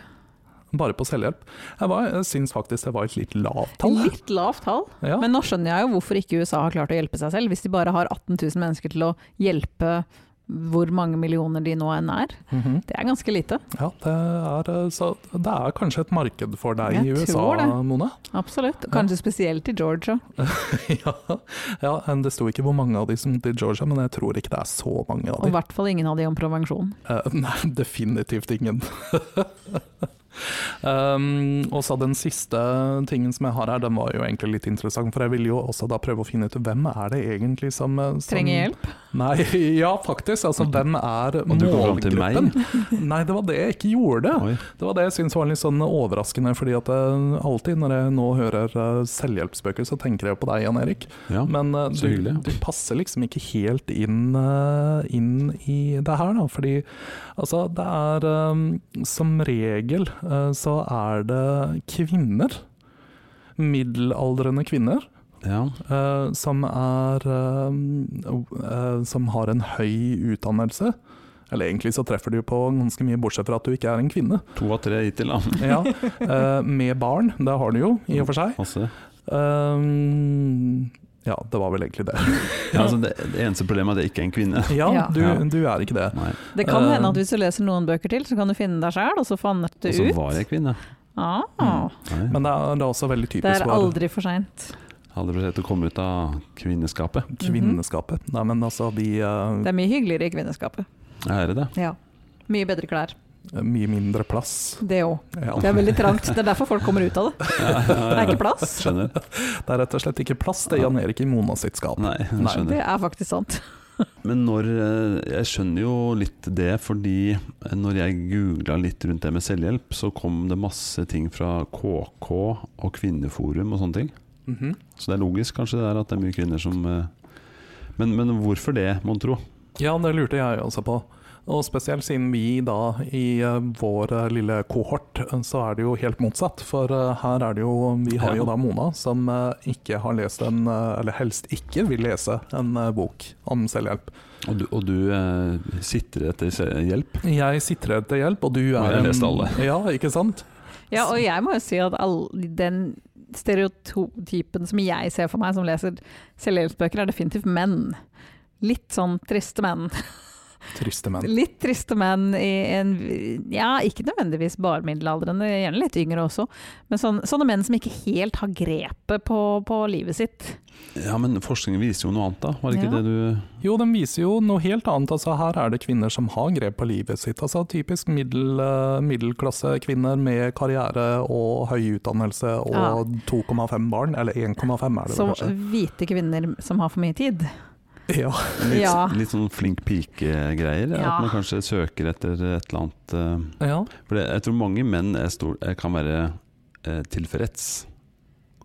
D: bare på selvhjelp. Jeg, var, jeg syns faktisk det var et litt lavt tall.
C: Litt lavt tall.
D: Ja.
C: Men nå skjønner jeg jo hvorfor ikke USA har klart å hjelpe seg selv, hvis de bare har 18 000 mennesker til å hjelpe hvor mange millioner de nå enn er.
D: Mhm.
C: Det er ganske lite.
D: Ja, det er, eh, så det er kanskje et marked for deg
C: Jeg
D: i USA,
C: tror det.
D: Mona?
C: Absolutt. Kanskje spesielt i Georgia.
D: ja. ja, men det sto ikke hvor mange av de som til Georgia, men jeg tror ikke det er så mange av
C: Og i
D: de.
C: hvert fall ingen av de om prevensjon.
D: Eh, nei, definitivt ingen. um, og så den siste tingen som jeg har her, den var jo egentlig litt interessant, for jeg ville jo også da prøve å finne ut hvem er det egentlig som, eh, som
C: Trenger hjelp.
D: Nei, ja faktisk. Altså, hvem er
B: Og du kom fram til meg?
D: målgruppen? Nei, det var det jeg ikke gjorde.
B: Oi.
D: Det var det jeg syntes var litt sånn overraskende, fordi at jeg alltid når jeg nå hører eh, selvhjelpsbøker, så tenker jeg på deg, Jan Erik.
B: Ja.
D: Men eh,
B: så
D: du,
B: hyggelig.
D: du passer liksom ikke helt inn, eh, inn i det her, da. Fordi altså, det er eh, Som regel eh, så er det kvinner, middelaldrende kvinner,
B: ja.
D: eh, som er eh, eh, Som har en høy utdannelse. Eller egentlig så treffer du på ganske mye, bortsett fra at du ikke er en kvinne.
B: To av tre hittil, da.
D: Ja, eh, med barn, det har du jo, i og for seg.
B: Masse.
D: Eh, ja, det var vel egentlig det.
B: Ja, altså, det, det eneste problemet er at jeg ikke er en kvinne.
D: Ja,
C: Ja.
D: du,
B: Ja.
D: du er ikke det.
B: Nei.
C: Det kan
D: Eh.
C: hende at hvis du leser noen bøker til, så kan du finne deg sjæl, og så fant du
B: Og så
C: ut.
B: var jeg kvinne.
C: Ah,
D: Mm.
B: Nei.
D: Men det er, det er også veldig
C: det
D: typisk
C: er
D: for
C: aldri for seint.
B: Hadde du sett å komme ut av kvinneskapet?
D: kvinneskapet. Nei, men altså, vi eh,
C: Mhm. Det er mye hyggeligere i kvinneskapet.
B: Er det det?
C: Ja. Mye bedre klær.
D: Mye mindre plass.
C: Det òg.
D: Ja.
C: Det er veldig trangt. Det er derfor folk kommer ut av det. Det er ikke plass.
B: Skjønner.
D: Det er rett og slett ikke plass til Jan Erik i Mona sitt skap.
B: Nei, jeg
D: Nei,
B: skjønner.
C: Det er faktisk sant.
B: Men når, eh, jeg skjønner jo litt det, fordi eh, når jeg googla litt rundt det med selvhjelp, så kom det masse ting fra KK og Kvinneforum og sånne ting.
D: Mhm.
B: Så det er logisk kanskje det der at det er mye kvinner som eh, Men, men hvorfor det, mon tro?
D: Ja, det lurte jeg også på. Og spesielt siden vi da i eh, vår eh, lille kohort, eh, så er det jo helt motsatt. For eh, her er det jo Vi har jo
B: Ja.
D: da Mona, som eh, ikke har lest en eh, Eller helst ikke vil lese en eh, bok om selvhjelp.
B: Og du, og du eh, sitter etter se- hjelp?
D: Jeg sitter etter hjelp, og du er
B: Og jeg har lest alle.
D: Ja, ikke sant?
C: Ja, og jeg må jo si at all, den stereotypen som jeg ser for meg som leser selvhjelpsbøker, er definitivt menn. Litt sånn triste menn.
D: Triste menn.
C: Litt triste menn i en Ja, ikke nødvendigvis bare middelaldrende, gjerne litt yngre også. Men sånn, sånne menn som ikke helt har grepet på, på livet sitt.
B: Ja, men forskningen viser jo noe annet, da. Var det ikke
C: Ja.
B: det du
D: Jo, den viser jo noe helt annet. Altså, her er det kvinner som har grep på livet sitt. Altså, typisk middel, eh, middelklassekvinner med karriere og høy utdannelse og
C: Ja.
D: 2,5 barn. Eller 1,5 er det
C: Som
D: vel kanskje.
C: hvite kvinner som har for mye tid.
D: Ja.
B: Litt,
C: Ja.
B: litt sånn flink pike-greier.
C: Ja.
B: At man kanskje søker etter et eller annet eh,
D: ja.
B: For det, jeg tror mange menn er stor, eh, kan være eh, tilfreds.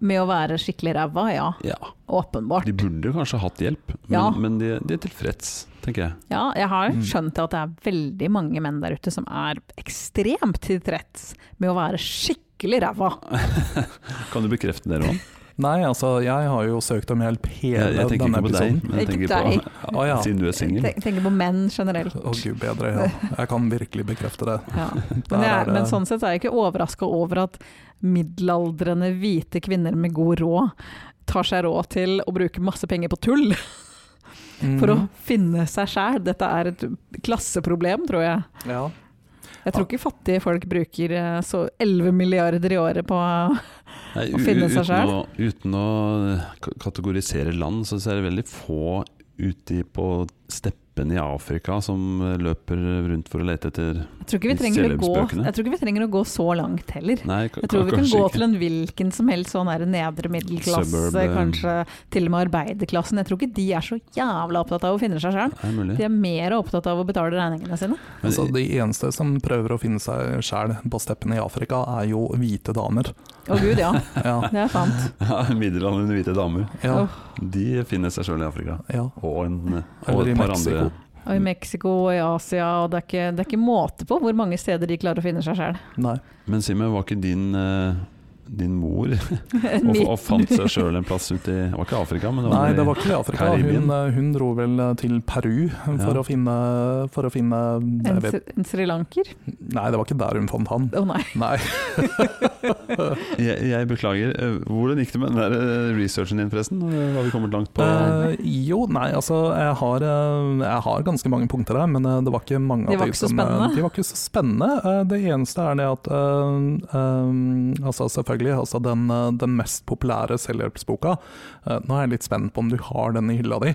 C: Med å være skikkelig ræva, ja.
B: Ja.
C: Åpenbart.
B: De burde kanskje hatt hjelp, men,
C: Ja.
B: men de, de er tilfreds, tenker jeg.
C: Ja, jeg
B: Mm.
C: har skjønt at det er veldig mange menn der ute som er ekstremt tilfreds med å være skikkelig ræva.
B: Kan du bekrefte det, Roan?
D: Nei, altså, jeg har jo søkt om hjelp hele
B: Jeg, jeg tenker
D: denne
B: ikke på deg,
D: episoden.
B: men jeg
C: Ikke
B: tenker på
D: Å ja.
B: Siden du er singel.
C: Tenk- Tenker på menn generelt.
D: Å gud bedre, ja. Jeg kan virkelig bekrefte det.
C: Ja.
D: Der
C: Men,
D: er
C: jeg,
D: det-
C: men sånn sett er jeg ikke overraska over at middelaldrende hvite kvinner med god råd tar seg råd til å bruke masse penger på tull for
D: Mm. Mhm.
C: å finne seg sjæl. Dette er et klasseproblem, tror jeg.
D: Ja.
C: Jeg tror ikke fattige folk bruker eh, så 11 milliarder i året på
B: Nei,
C: Å finne seg
B: uten, å, uten å k- kategorisere land, så er det veldig få ute i- på steppene i Afrika som eh, løper rundt for å lete etter
C: Jeg tror ikke vi
B: I
C: trenger å gå,
B: selvhjelpsbøkene.
C: jeg tror ikke vi trenger å gå så langt heller.
B: Nei, ka-
C: Jeg tror vi kan
B: kanskje
C: gå
B: ikke.
C: til en hvilken som helst sånn her nedre middelklasse,
B: Suburb, eh.
C: kanskje til og med arbeiderklassen. Jeg tror ikke de er så jævla opptatt av å finne seg sjøl.
B: Det er mulig.
C: De er mer opptatt av å betale regningene sine.
B: Men-
D: Altså, de eneste som prøver å finne seg sjæl på steppene i Afrika, er jo hvite damer.
C: Å gud, ja.
D: Ja,
C: Det er sant.
B: Ja, Middelaldrende hvite damer.
D: ja,
B: De finner seg sjøl i Afrika.
D: ja.
B: Og, en, eh, og
D: Eller i
B: et par
D: Mexico.
B: andre.
C: Og i Mexico og i Asia, og det er ikke, det er ikke måte på hvor mange steder de klarer å finne seg sjøl.
D: Nei.
B: Men si meg, var ikke din eh, din mor
C: En
B: og,
C: midt-
B: og fant seg sjøl en plass ute i Det var ikke Afrika, men det var,
D: Nei,
B: i-
D: det var ikke i Afrika.
B: Karibien.
D: Hun, eh, hun dro vel eh, til Peru for,
B: Ja.
D: å, finne, for å finne jeg
C: En,
D: vet,
C: Sri- en srilanker?
D: Nei, det var ikke der hun fant han.
C: Å nei.
D: Nei.
B: jeg, jeg beklager. Eh, Hvordan gikk det med den der eh, researchen din, forresten? Eh, Har vi kommet langt på
D: Eh, jo, nei, altså jeg har, eh, jeg har ganske mange punkter her, men eh, det var ikke mange av
C: De var ikke så
D: som, eh,
C: spennende.
D: De var ikke så spennende. Eh, det eneste er det at eh, eh, Altså selvfølgelig, altså den, eh, den mest populære selvhjelpsboka eh, Nå er jeg litt spent på om du har den i hylla di.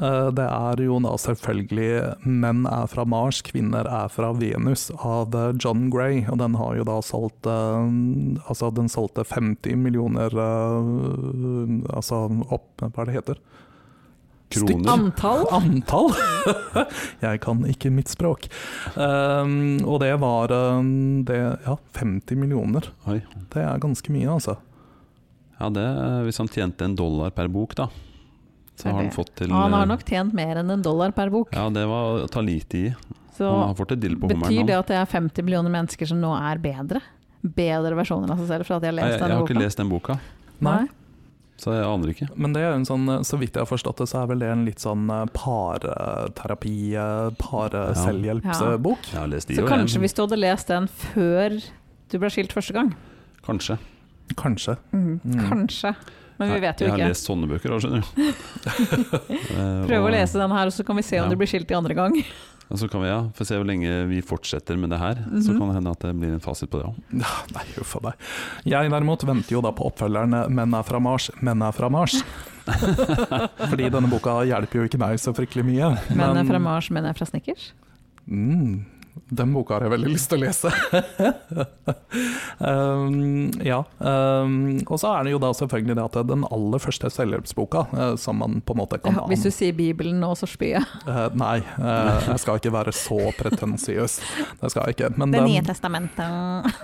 D: Eh, det er jo da selvfølgelig 'Menn er fra Mars, kvinner er fra Venus' av eh, John Gray. Og den har jo da solgt eh, Altså, den solgte 50 millioner eh, Altså opp Hva er det heter?
B: kroner?
C: Antall?
D: Antall? Jeg kan ikke mitt språk. Um, og det var um, det, ja, 50 millioner.
B: Oi.
D: Det er ganske mye, altså.
B: Ja, det, eh, hvis han tjente en dollar per bok, da,
C: Er
B: så har han
C: det-
B: fått til
C: Han har
B: eh,
C: nok tjent mer enn en dollar per bok.
B: Ja, det var å ta lite i.
C: Så
B: Han har fått et dill på
C: betyr
B: hummeren
C: det
B: nå.
C: at det er 50 millioner mennesker som nå er bedre? Bedre versjoner av seg selv fra at de har
B: Nei,
C: lest
B: Jeg, jeg
C: denne
B: har ikke
C: boka?
B: lest den boka,
D: Nei.
B: så jeg aner ikke.
D: Men det er jo en sånn, så vidt jeg har forstått det, så er vel det en litt sånn eh, pareterapi, eh, pareselvhjelpsbok.
B: Jeg har lest de
C: Så
B: og
C: kanskje
B: jeg.
C: hvis du hadde lest den før du ble skilt første gang?
B: Kanskje.
D: Kanskje. Mm.
C: Kanskje. Men vi
B: Nei,
C: vet jo
B: Jeg
C: ikke.
B: har lest sånne bøker òg, skjønner du. Eh,
C: Prøv å
B: og-
C: lese den her, og så kan vi se om
B: Ja.
C: du blir skilt i andre gang.
B: Og så kan vi, ja, Få se hvor lenge vi fortsetter med det her. Så
C: Mhm.
B: kan det hende at det blir en fasit på det òg.
D: Ja, Nei, huff a meg. Jeg derimot venter jo da på oppfølgeren eh, 'Menn er fra Mars, menn er fra Mars'. Fordi denne boka hjelper jo ikke meg så fryktelig mye.
C: Menn er eh, fra Mars, menn er fra Snickers.
D: Mm. Den boka har jeg veldig lyst til å lese. um, ja. Um, og så er det jo da selvfølgelig det at den aller første selvhjelpsboka, eh, som man på en måte kan
C: Ja, hvis du sier Bibelen nå, så spyr jeg.
D: Eh, Nei, eh, jeg skal ikke være så pretensiøs. Det skal jeg ikke. Men
C: Det nye
D: den,
C: testamentet.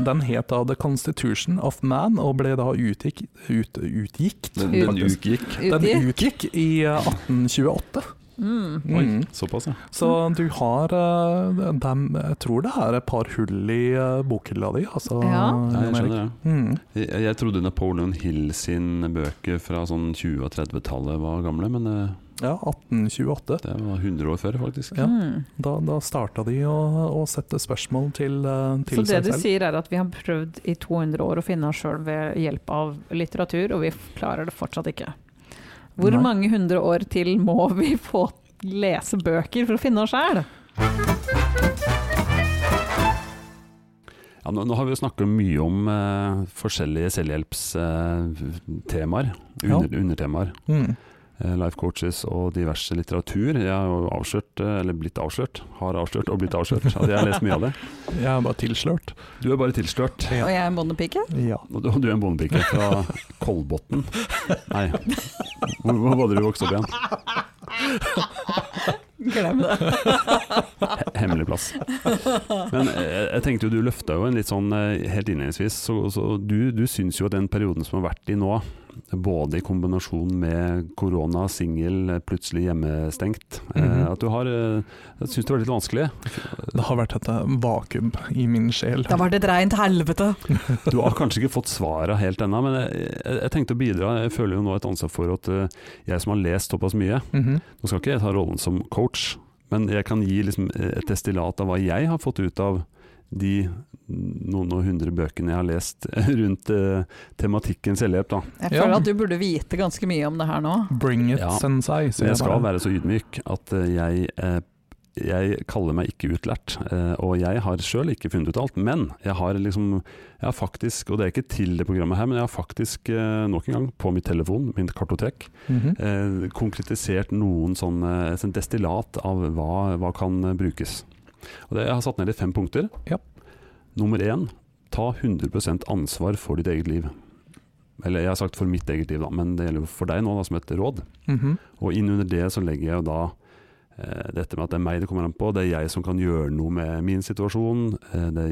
D: den het da The Constitution of Man, og ble da utgikk, ut, utgikt
B: Den, den
D: faktisk.
B: utgikk.
D: Den
C: Uti.
D: utgikk i eh, 1828.
C: Mm.
B: Oi,
D: Mm.
B: såpass, ja.
D: Så du har eh, dem, Jeg tror det er et par hull i eh, bokhylla di, altså.
C: Ja.
B: ja jeg
D: Jan Erik.
B: skjønner det.
D: Mm.
B: Jeg, jeg trodde Napoleon Hill sin bøker fra sånn 20- og 30-tallet var gamle, men eh,
D: Ja, 1828.
B: det var 100 år før, faktisk.
D: Ja.
C: Mm.
D: Da, da starta de å, å sette spørsmål til, eh,
C: Så
D: til
C: det
D: seg
C: du
D: selv.
C: sier er at vi har prøvd i 200 år å finne oss sjøl ved hjelp av litteratur, og vi klarer det fortsatt ikke. Hvor
D: Nei.
C: mange hundre år til må vi få lese bøker for å finne oss sjæl?
B: Ja, nå, nå har vi jo snakket mye om eh, forskjellige selvhjelpstemaer,
D: Ja.
B: under, undertemaer.
D: Mm.
B: eh, Life coaches og diverse litteratur. Jeg har jo avslørt, eh, eller blitt avslørt, har avslørt og blitt avslørt. At jeg har lest mye av det.
D: Jeg er bare tilslørt.
B: Du er bare tilslørt.
C: Og jeg er en bondepike?
D: Ja.
B: Og du og du er en bondepike fra Kolbotn. Nei, hvor, hvor var det du vokste opp igjen?
C: Glem det.
B: He- Hemmelig plass. Men eh, jeg, jeg tenkte jo du løfta jo en litt sånn eh, helt innledningsvis. Så, så du, du syns jo at den perioden som har vært i nå, både i kombinasjon med korona, singel, eh, plutselig hjemmestengt, eh,
D: Mhm.
B: at du har eh, Jeg syns det var litt vanskelig.
D: Det har vært et eh, vakuum i min sjel.
C: Da var det et reint helvete.
B: Du har kanskje ikke fått svara helt ennå, men jeg, jeg, jeg tenkte å bidra. Jeg føler jo nå et ansvar for at eh, jeg som har lest såpass mye,
D: Mhm.
B: Nå skal ikke jeg ta rollen som coach, men jeg kan gi liksom et destillat av hva jeg har fått ut av de noen og hundre bøkene jeg har lest rundt eh, tematikken selvhjelp. Da.
C: Jeg
D: Ja.
C: føler at du burde vite ganske mye om det her nå.
D: Bring it,
B: Ja.
D: sensei. sier
B: Så jeg skal
D: bare.
B: være så ydmyk at eh, jeg, eh, jeg kaller meg ikke utlært, eh, og jeg har sjøl ikke funnet ut alt. Men jeg har liksom, jeg har faktisk, og det er ikke til det programmet her, men jeg har faktisk eh, nok en gang på min telefon, min kartotek,
D: Mhm.
B: eh, konkretisert noen sånn, eh, sånn destillat av hva, hva kan eh, brukes. Og det, jeg har satt ned i fem punkter.
D: Ja.
B: Nummer én, ta 100 ansvar for ditt eget liv. Eller jeg har sagt for mitt eget liv, da, men det gjelder jo for deg nå da, som et råd.
D: Mhm.
B: Og inn under det så legger jeg jo da
A: eh, dette med at det er meg det kommer an på, det er jeg som kan gjøre noe med min situasjon. Eh, det,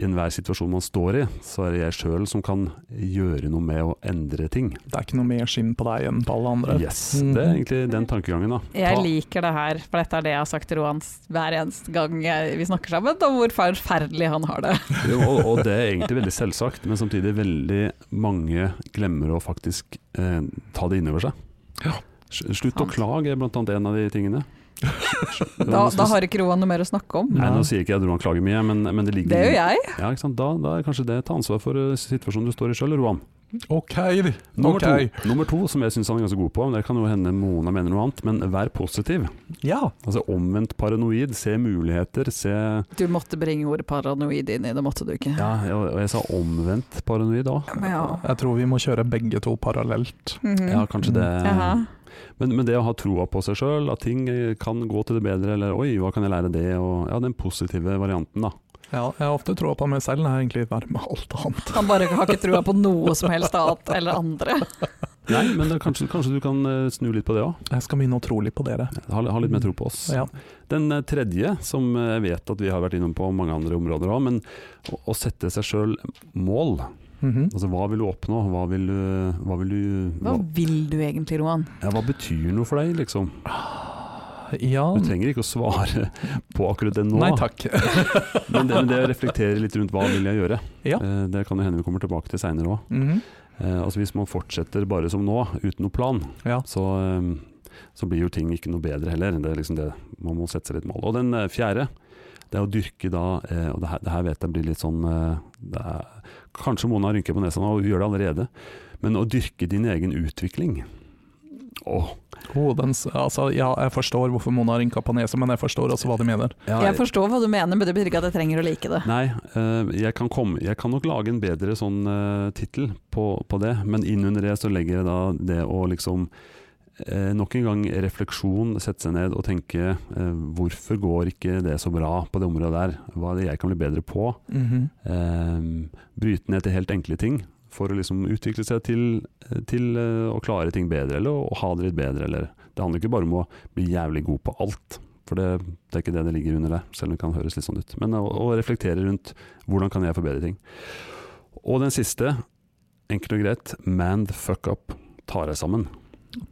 A: I enhver situasjon man står i, så er det jeg sjøl som kan gjøre noe med å endre ting.
D: Det er ikke noe mer skinn på deg enn på alle andre.
A: Yes, Det er egentlig den tankegangen, da.
C: Mm. Jeg liker det her, for dette er det jeg har sagt til Roan hver eneste gang jeg- vi snakker sammen, om hvor forferdelig han har det.
A: Jo, og, og det er egentlig veldig selvsagt, men samtidig veldig mange glemmer å faktisk eh, ta det innover seg.
D: Ja.
A: Sl- Slutt å
C: Sant.
A: klage er blant annet en av de tingene.
C: Da, da har ikke Roan noe mer å snakke om.
A: Nei, nå
D: Mhm.
A: sier ikke jeg at Roan klager mye, men, men det ligger
C: Det gjør jeg.
A: Ja, ikke sant? Da, da er kanskje det ta ansvar for eh, situasjonen du står i sjøl, Roan.
D: Ok,
A: Nummer,
D: ok.
A: to, nummer to, som jeg syns han er ganske god på, men det kan jo hende Mona mener noe annet, men vær positiv.
D: Ja.
A: Altså omvendt paranoid, se muligheter, se
C: Du måtte bringe ordet paranoid inn i det, måtte du ikke?
A: Ja, jeg, og jeg sa omvendt paranoid òg.
C: Ja.
D: Jeg tror vi må kjøre begge to parallelt.
C: Mhm.
A: Ja, kanskje det.
C: Jaha.
A: Men, men det å ha troa på seg sjøl, at ting eh, kan gå til det bedre, eller oi, hva kan jeg lære av det, og ja, den positive varianten, da.
D: Ja, jeg har ofte troa på meg selv, jeg er egentlig verre med alt annet.
C: Han bare har ikke trua på noe som helst annet eller andre.
A: Nei, men det, kanskje, kanskje du kan eh, snu litt på det òg.
D: Jeg skal begynne å tro litt på dere.
A: Ha, ha litt mer tro på oss.
D: Ja.
A: Den eh, tredje, som eh, jeg vet at vi har vært innom på mange andre områder òg, men å, å sette seg sjøl mål.
D: Mhm.
A: Altså hva vil du oppnå, hva vil du Hva, vil du, hva,
C: Hva vil du egentlig, Roan?
A: ja, hva betyr noe for deg, liksom?
D: Ja
A: Du trenger ikke å svare på akkurat det nå.
D: Nei takk.
A: Men det, men det å reflektere litt rundt hva vil jeg gjøre,
D: Ja.
A: Eh, det kan jo hende vi kommer tilbake til seinere òg.
D: Mhm.
A: Eh, altså Hvis man fortsetter bare som nå, uten noe plan,
D: Ja.
A: så, eh, så blir jo ting ikke noe bedre heller. Det er liksom det Man må sette seg litt mål. Og den eh, fjerde, det er å dyrke da eh, Og det her, det her vet jeg blir litt sånn eh, det er, Kanskje Mona rynker på nesa nå, og gjør det allerede. Men å dyrke din egen utvikling. Åh,
D: Oh, den, s- altså, ja, jeg forstår hvorfor Mona rynka på nesa, men jeg forstår også hva de mener.
A: ja,
C: Jeg forstår hva du mener, men det betyr ikke at jeg trenger å like det.
A: Nei, eh, jeg, kan komme, jeg kan nok lage en bedre sånn eh, tittel på, på det, men innunder det så legger jeg da det å liksom eh, Nok en gang refleksjon, sette seg ned og tenke eh, hvorfor går ikke det så bra på det området der? Hva er det jeg kan bli bedre på?
D: Mhm.
A: Eh, bryte ned til helt enkle ting for å liksom utvikle seg til, til eh, å klare ting bedre, eller å ha det litt bedre. Eller. Det handler ikke bare om å bli jævlig god på alt, for det, det er ikke det det ligger under der, selv om det kan høres litt sånn ut. Men å, å reflektere rundt hvordan kan jeg forbedre ting. Og den siste, enkelt og greit, man the fuck up. Ta deg sammen.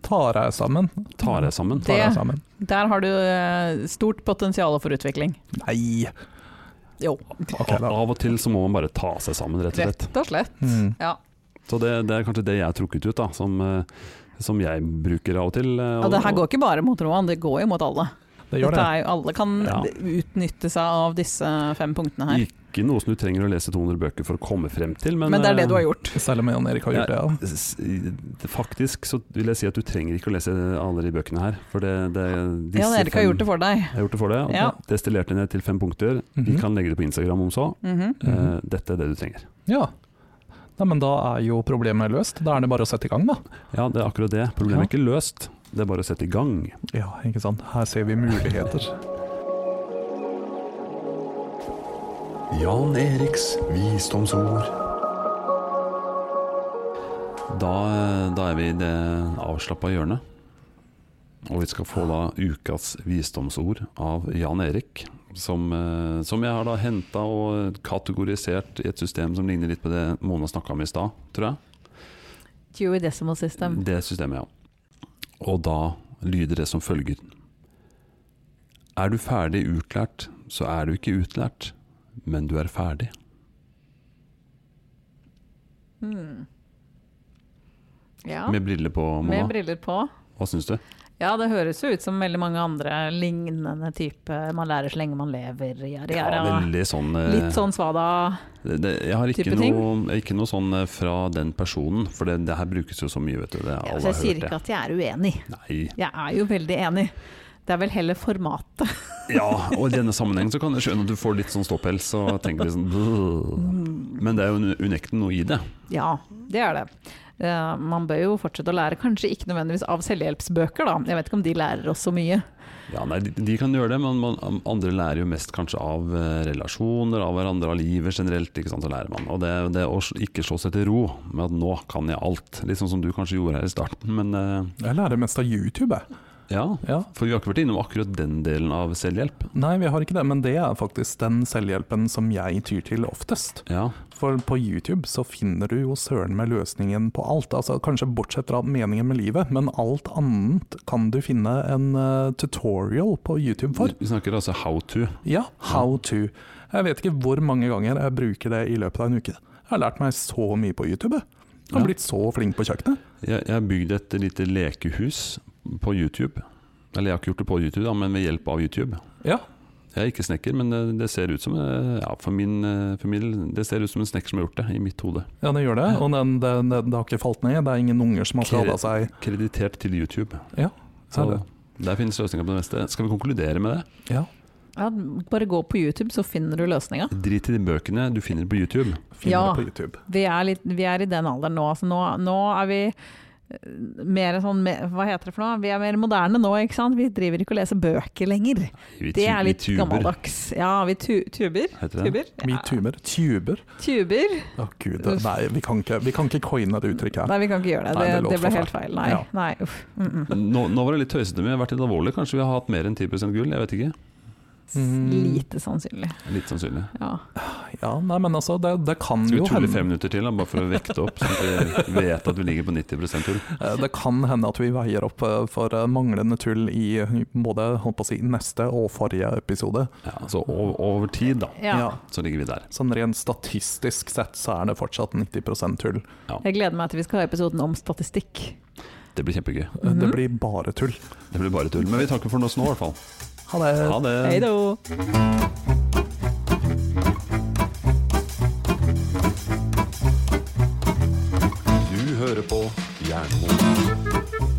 D: Tar jeg sammen?
A: Ta deg sammen.
D: Tar jeg
C: Det-
D: sammen?
C: Der har du eh, stort potensial for utvikling.
D: Nei!
C: Jo,
D: Ok, da.
A: Av og til så må man bare ta seg sammen, rett og slett.
C: rett og slett. Mm.
D: Mhm.
C: Ja.
A: Så det, det er kanskje det jeg har trukket ut, da, som, eh, som jeg bruker av og til. eh,
C: Og det her går ikke bare mot Roan, det går jo mot alle.
D: Det gjør
C: Dette
D: det.
C: er jo, alle kan
A: Ja.
C: utnytte seg av disse fem punktene her.
A: Ikke noe som du trenger å lese 200 bøker for å komme frem til, men,
C: Men det er det du har gjort.
D: Selv om Jan Erik har gjort det, ja.
A: eh, s- i- Faktisk så vil jeg si at du trenger ikke å lese alle de bøkene her. For det, det, disse
C: Jan Erik har
A: fem-
C: gjort det for deg.
A: Jeg har gjort det for deg. og
C: Ja.
A: Destillerte ned til fem punkter. Vi
D: Mhm.
A: kan legge det på Instagram om så.
C: Mhm.
A: Eh,
D: Mhm.
A: Dette er det du trenger.
D: Ja. Nei, men da er jo problemet løst. Da er det bare å sette i gang, da.
A: Ja, det er akkurat det. Problemet er ikke løst. Det er bare å sette i gang.
D: Ja, ikke sant. Her ser vi muligheter.
B: Jan Eriks visdomsord.
A: Da, da er vi i det avslappa hjørnet. Og vi skal få da ukas visdomsord av Jan Erik. Som, eh, som jeg har da henta og kategorisert i et system som ligner litt på det Mona snakka om i stad, tror jeg.
C: Dewey Decimal System.
A: Det systemet, ja. Og da lyder det som følger. Er du ferdig utlært, så er du ikke utlært, men du er ferdig.
C: Mm. Ja,
A: Med briller på,
C: med
A: Mona.
C: briller på.
A: Hva syns du?
C: Ja, det høres jo ut som veldig mange andre lignende type man lærer så lenge man lever. Gjerde, gjerde.
A: veldig sånn eh,
C: Litt sånn svada
A: Det, det, jeg har ikke
C: type ting?
A: noe, ikke noe sånn eh, fra den personen, for det, det her brukes jo så mye, vet du. Det, alle
C: Altså, Jeg
A: har
C: sier
A: hørt
C: ikke
A: det.
C: at jeg er uenig.
A: Nei.
C: Jeg er jo veldig enig. Det er vel heller formatet.
A: Ja, og i denne sammenhengen så kan jeg skjønne at du får litt sånn ståpels og tenker litt sånn «Bleh». Men det er jo un- unektelig noe i det.
C: Ja, det er det. Eh, Man bør jo fortsette å lære, kanskje ikke nødvendigvis av selvhjelpsbøker, da. Jeg vet ikke om de lærer oss så mye.
A: Ja, nei, de, de kan gjøre det, men man, andre lærer jo mest kanskje av eh, relasjoner, av hverandre, av livet generelt. ikke sant, så lærer man. Og det, det å s- ikke slå seg til ro med at nå kan jeg alt, litt sånn som du kanskje gjorde her i starten, men eh,
D: Jeg lærer mest av YouTube, jeg.
B: Ja,
D: Ja.
B: for vi har ikke vært innom akkurat den delen av selvhjelp.
D: Nei, vi har ikke det, men det er faktisk den selvhjelpen som jeg tyr til oftest.
B: Ja,
D: For på YouTube så finner du jo søren meg løsningen på alt. Altså Kanskje bortsett fra meningen med livet, men alt annet kan du finne en eh, tutorial på YouTube for.
B: Vi snakker altså how to.
D: Ja, how to. Jeg vet ikke hvor mange ganger jeg bruker det i løpet av en uke. Jeg har lært meg så mye på YouTube. jeg. Jeg
B: Ja.
D: har blitt så flink på kjøkkenet.
B: Jeg, jeg har bygd et lite lekehus på YouTube. Eller jeg har ikke gjort det på YouTube, da, men ved hjelp av YouTube.
D: Ja,
B: Jeg er ikke snekker, men det, det ser ut som eh, ja, for min, eh, for min, det ser ut som en snekker som har gjort det, i mitt hode.
D: ja det gjør det. Og den, den, den, det har ikke falt ned. Det er ingen unger som har skada seg.
B: Kreditert til YouTube.
D: Ja,
B: Så
D: herlig.
B: der finnes løsninger på det meste. Skal vi konkludere med det?
D: Ja,
C: Ja, bare gå på YouTube, så finner du løsninga.
B: Drit i de bøkene du finner på YouTube.
D: finner
C: Ja.
D: det på YouTube.
C: Vi er, litt, vi er i den alderen nå. Altså nå, nå er vi eh, mer sånn me- Hva heter det for noe? Vi er mer moderne nå, ikke sant? Vi driver ikke og leser bøker lenger.
B: Vi
C: Det
B: tu-
C: er
B: vi
C: litt
B: tuber,
C: gammeldags. Ja, vi tu, tuber.
B: Heter det.
C: Tuber.
D: Vi
C: Ja,
D: tuber. Tuber.
C: tuber.
D: Å gud, nei, vi kan ikke, vi kan ikke coine det uttrykket her.
C: Nei, vi kan ikke gjøre det.
D: Nei,
C: Det,
D: det låter
C: det ble
D: for
C: helt feil. Nei.
D: Ja.
C: Nei uff. Mm -mm.
B: Nå, nå var det litt tøysete, men vi har vært litt alvorlige. Kanskje vi har hatt mer enn 10 gull? Jeg vet ikke.
D: Mm.
C: Lite sannsynlig.
B: Litt sannsynlig.
C: Ja.
D: Ja, nei, men altså, det, det kan
B: Skal
D: jo
B: vi tulle
D: hende
B: fem minutter til, da, bare for å vekte opp, sånn at vi vet at vi ligger på 90 tull?
D: Eh, Det kan hende at vi veier opp eh, for eh, manglende tull i både holdt på å si, neste og forrige episode.
B: Ja, så over, over tid, da,
C: Ja.
B: så ligger vi der.
D: Sånn rent statistisk sett så er det fortsatt 90 tull.
C: Jeg gleder meg til vi skal ha episoden om statistikk.
B: Det blir kjempegøy.
D: Eh, Det
C: Mhm.
D: blir bare tull.
B: Det blir bare tull. Men vi takker for oss nå, i hvert fall.
D: Ha det!
B: Ha det.
C: Hei da!
A: Du hører på Jernmoen.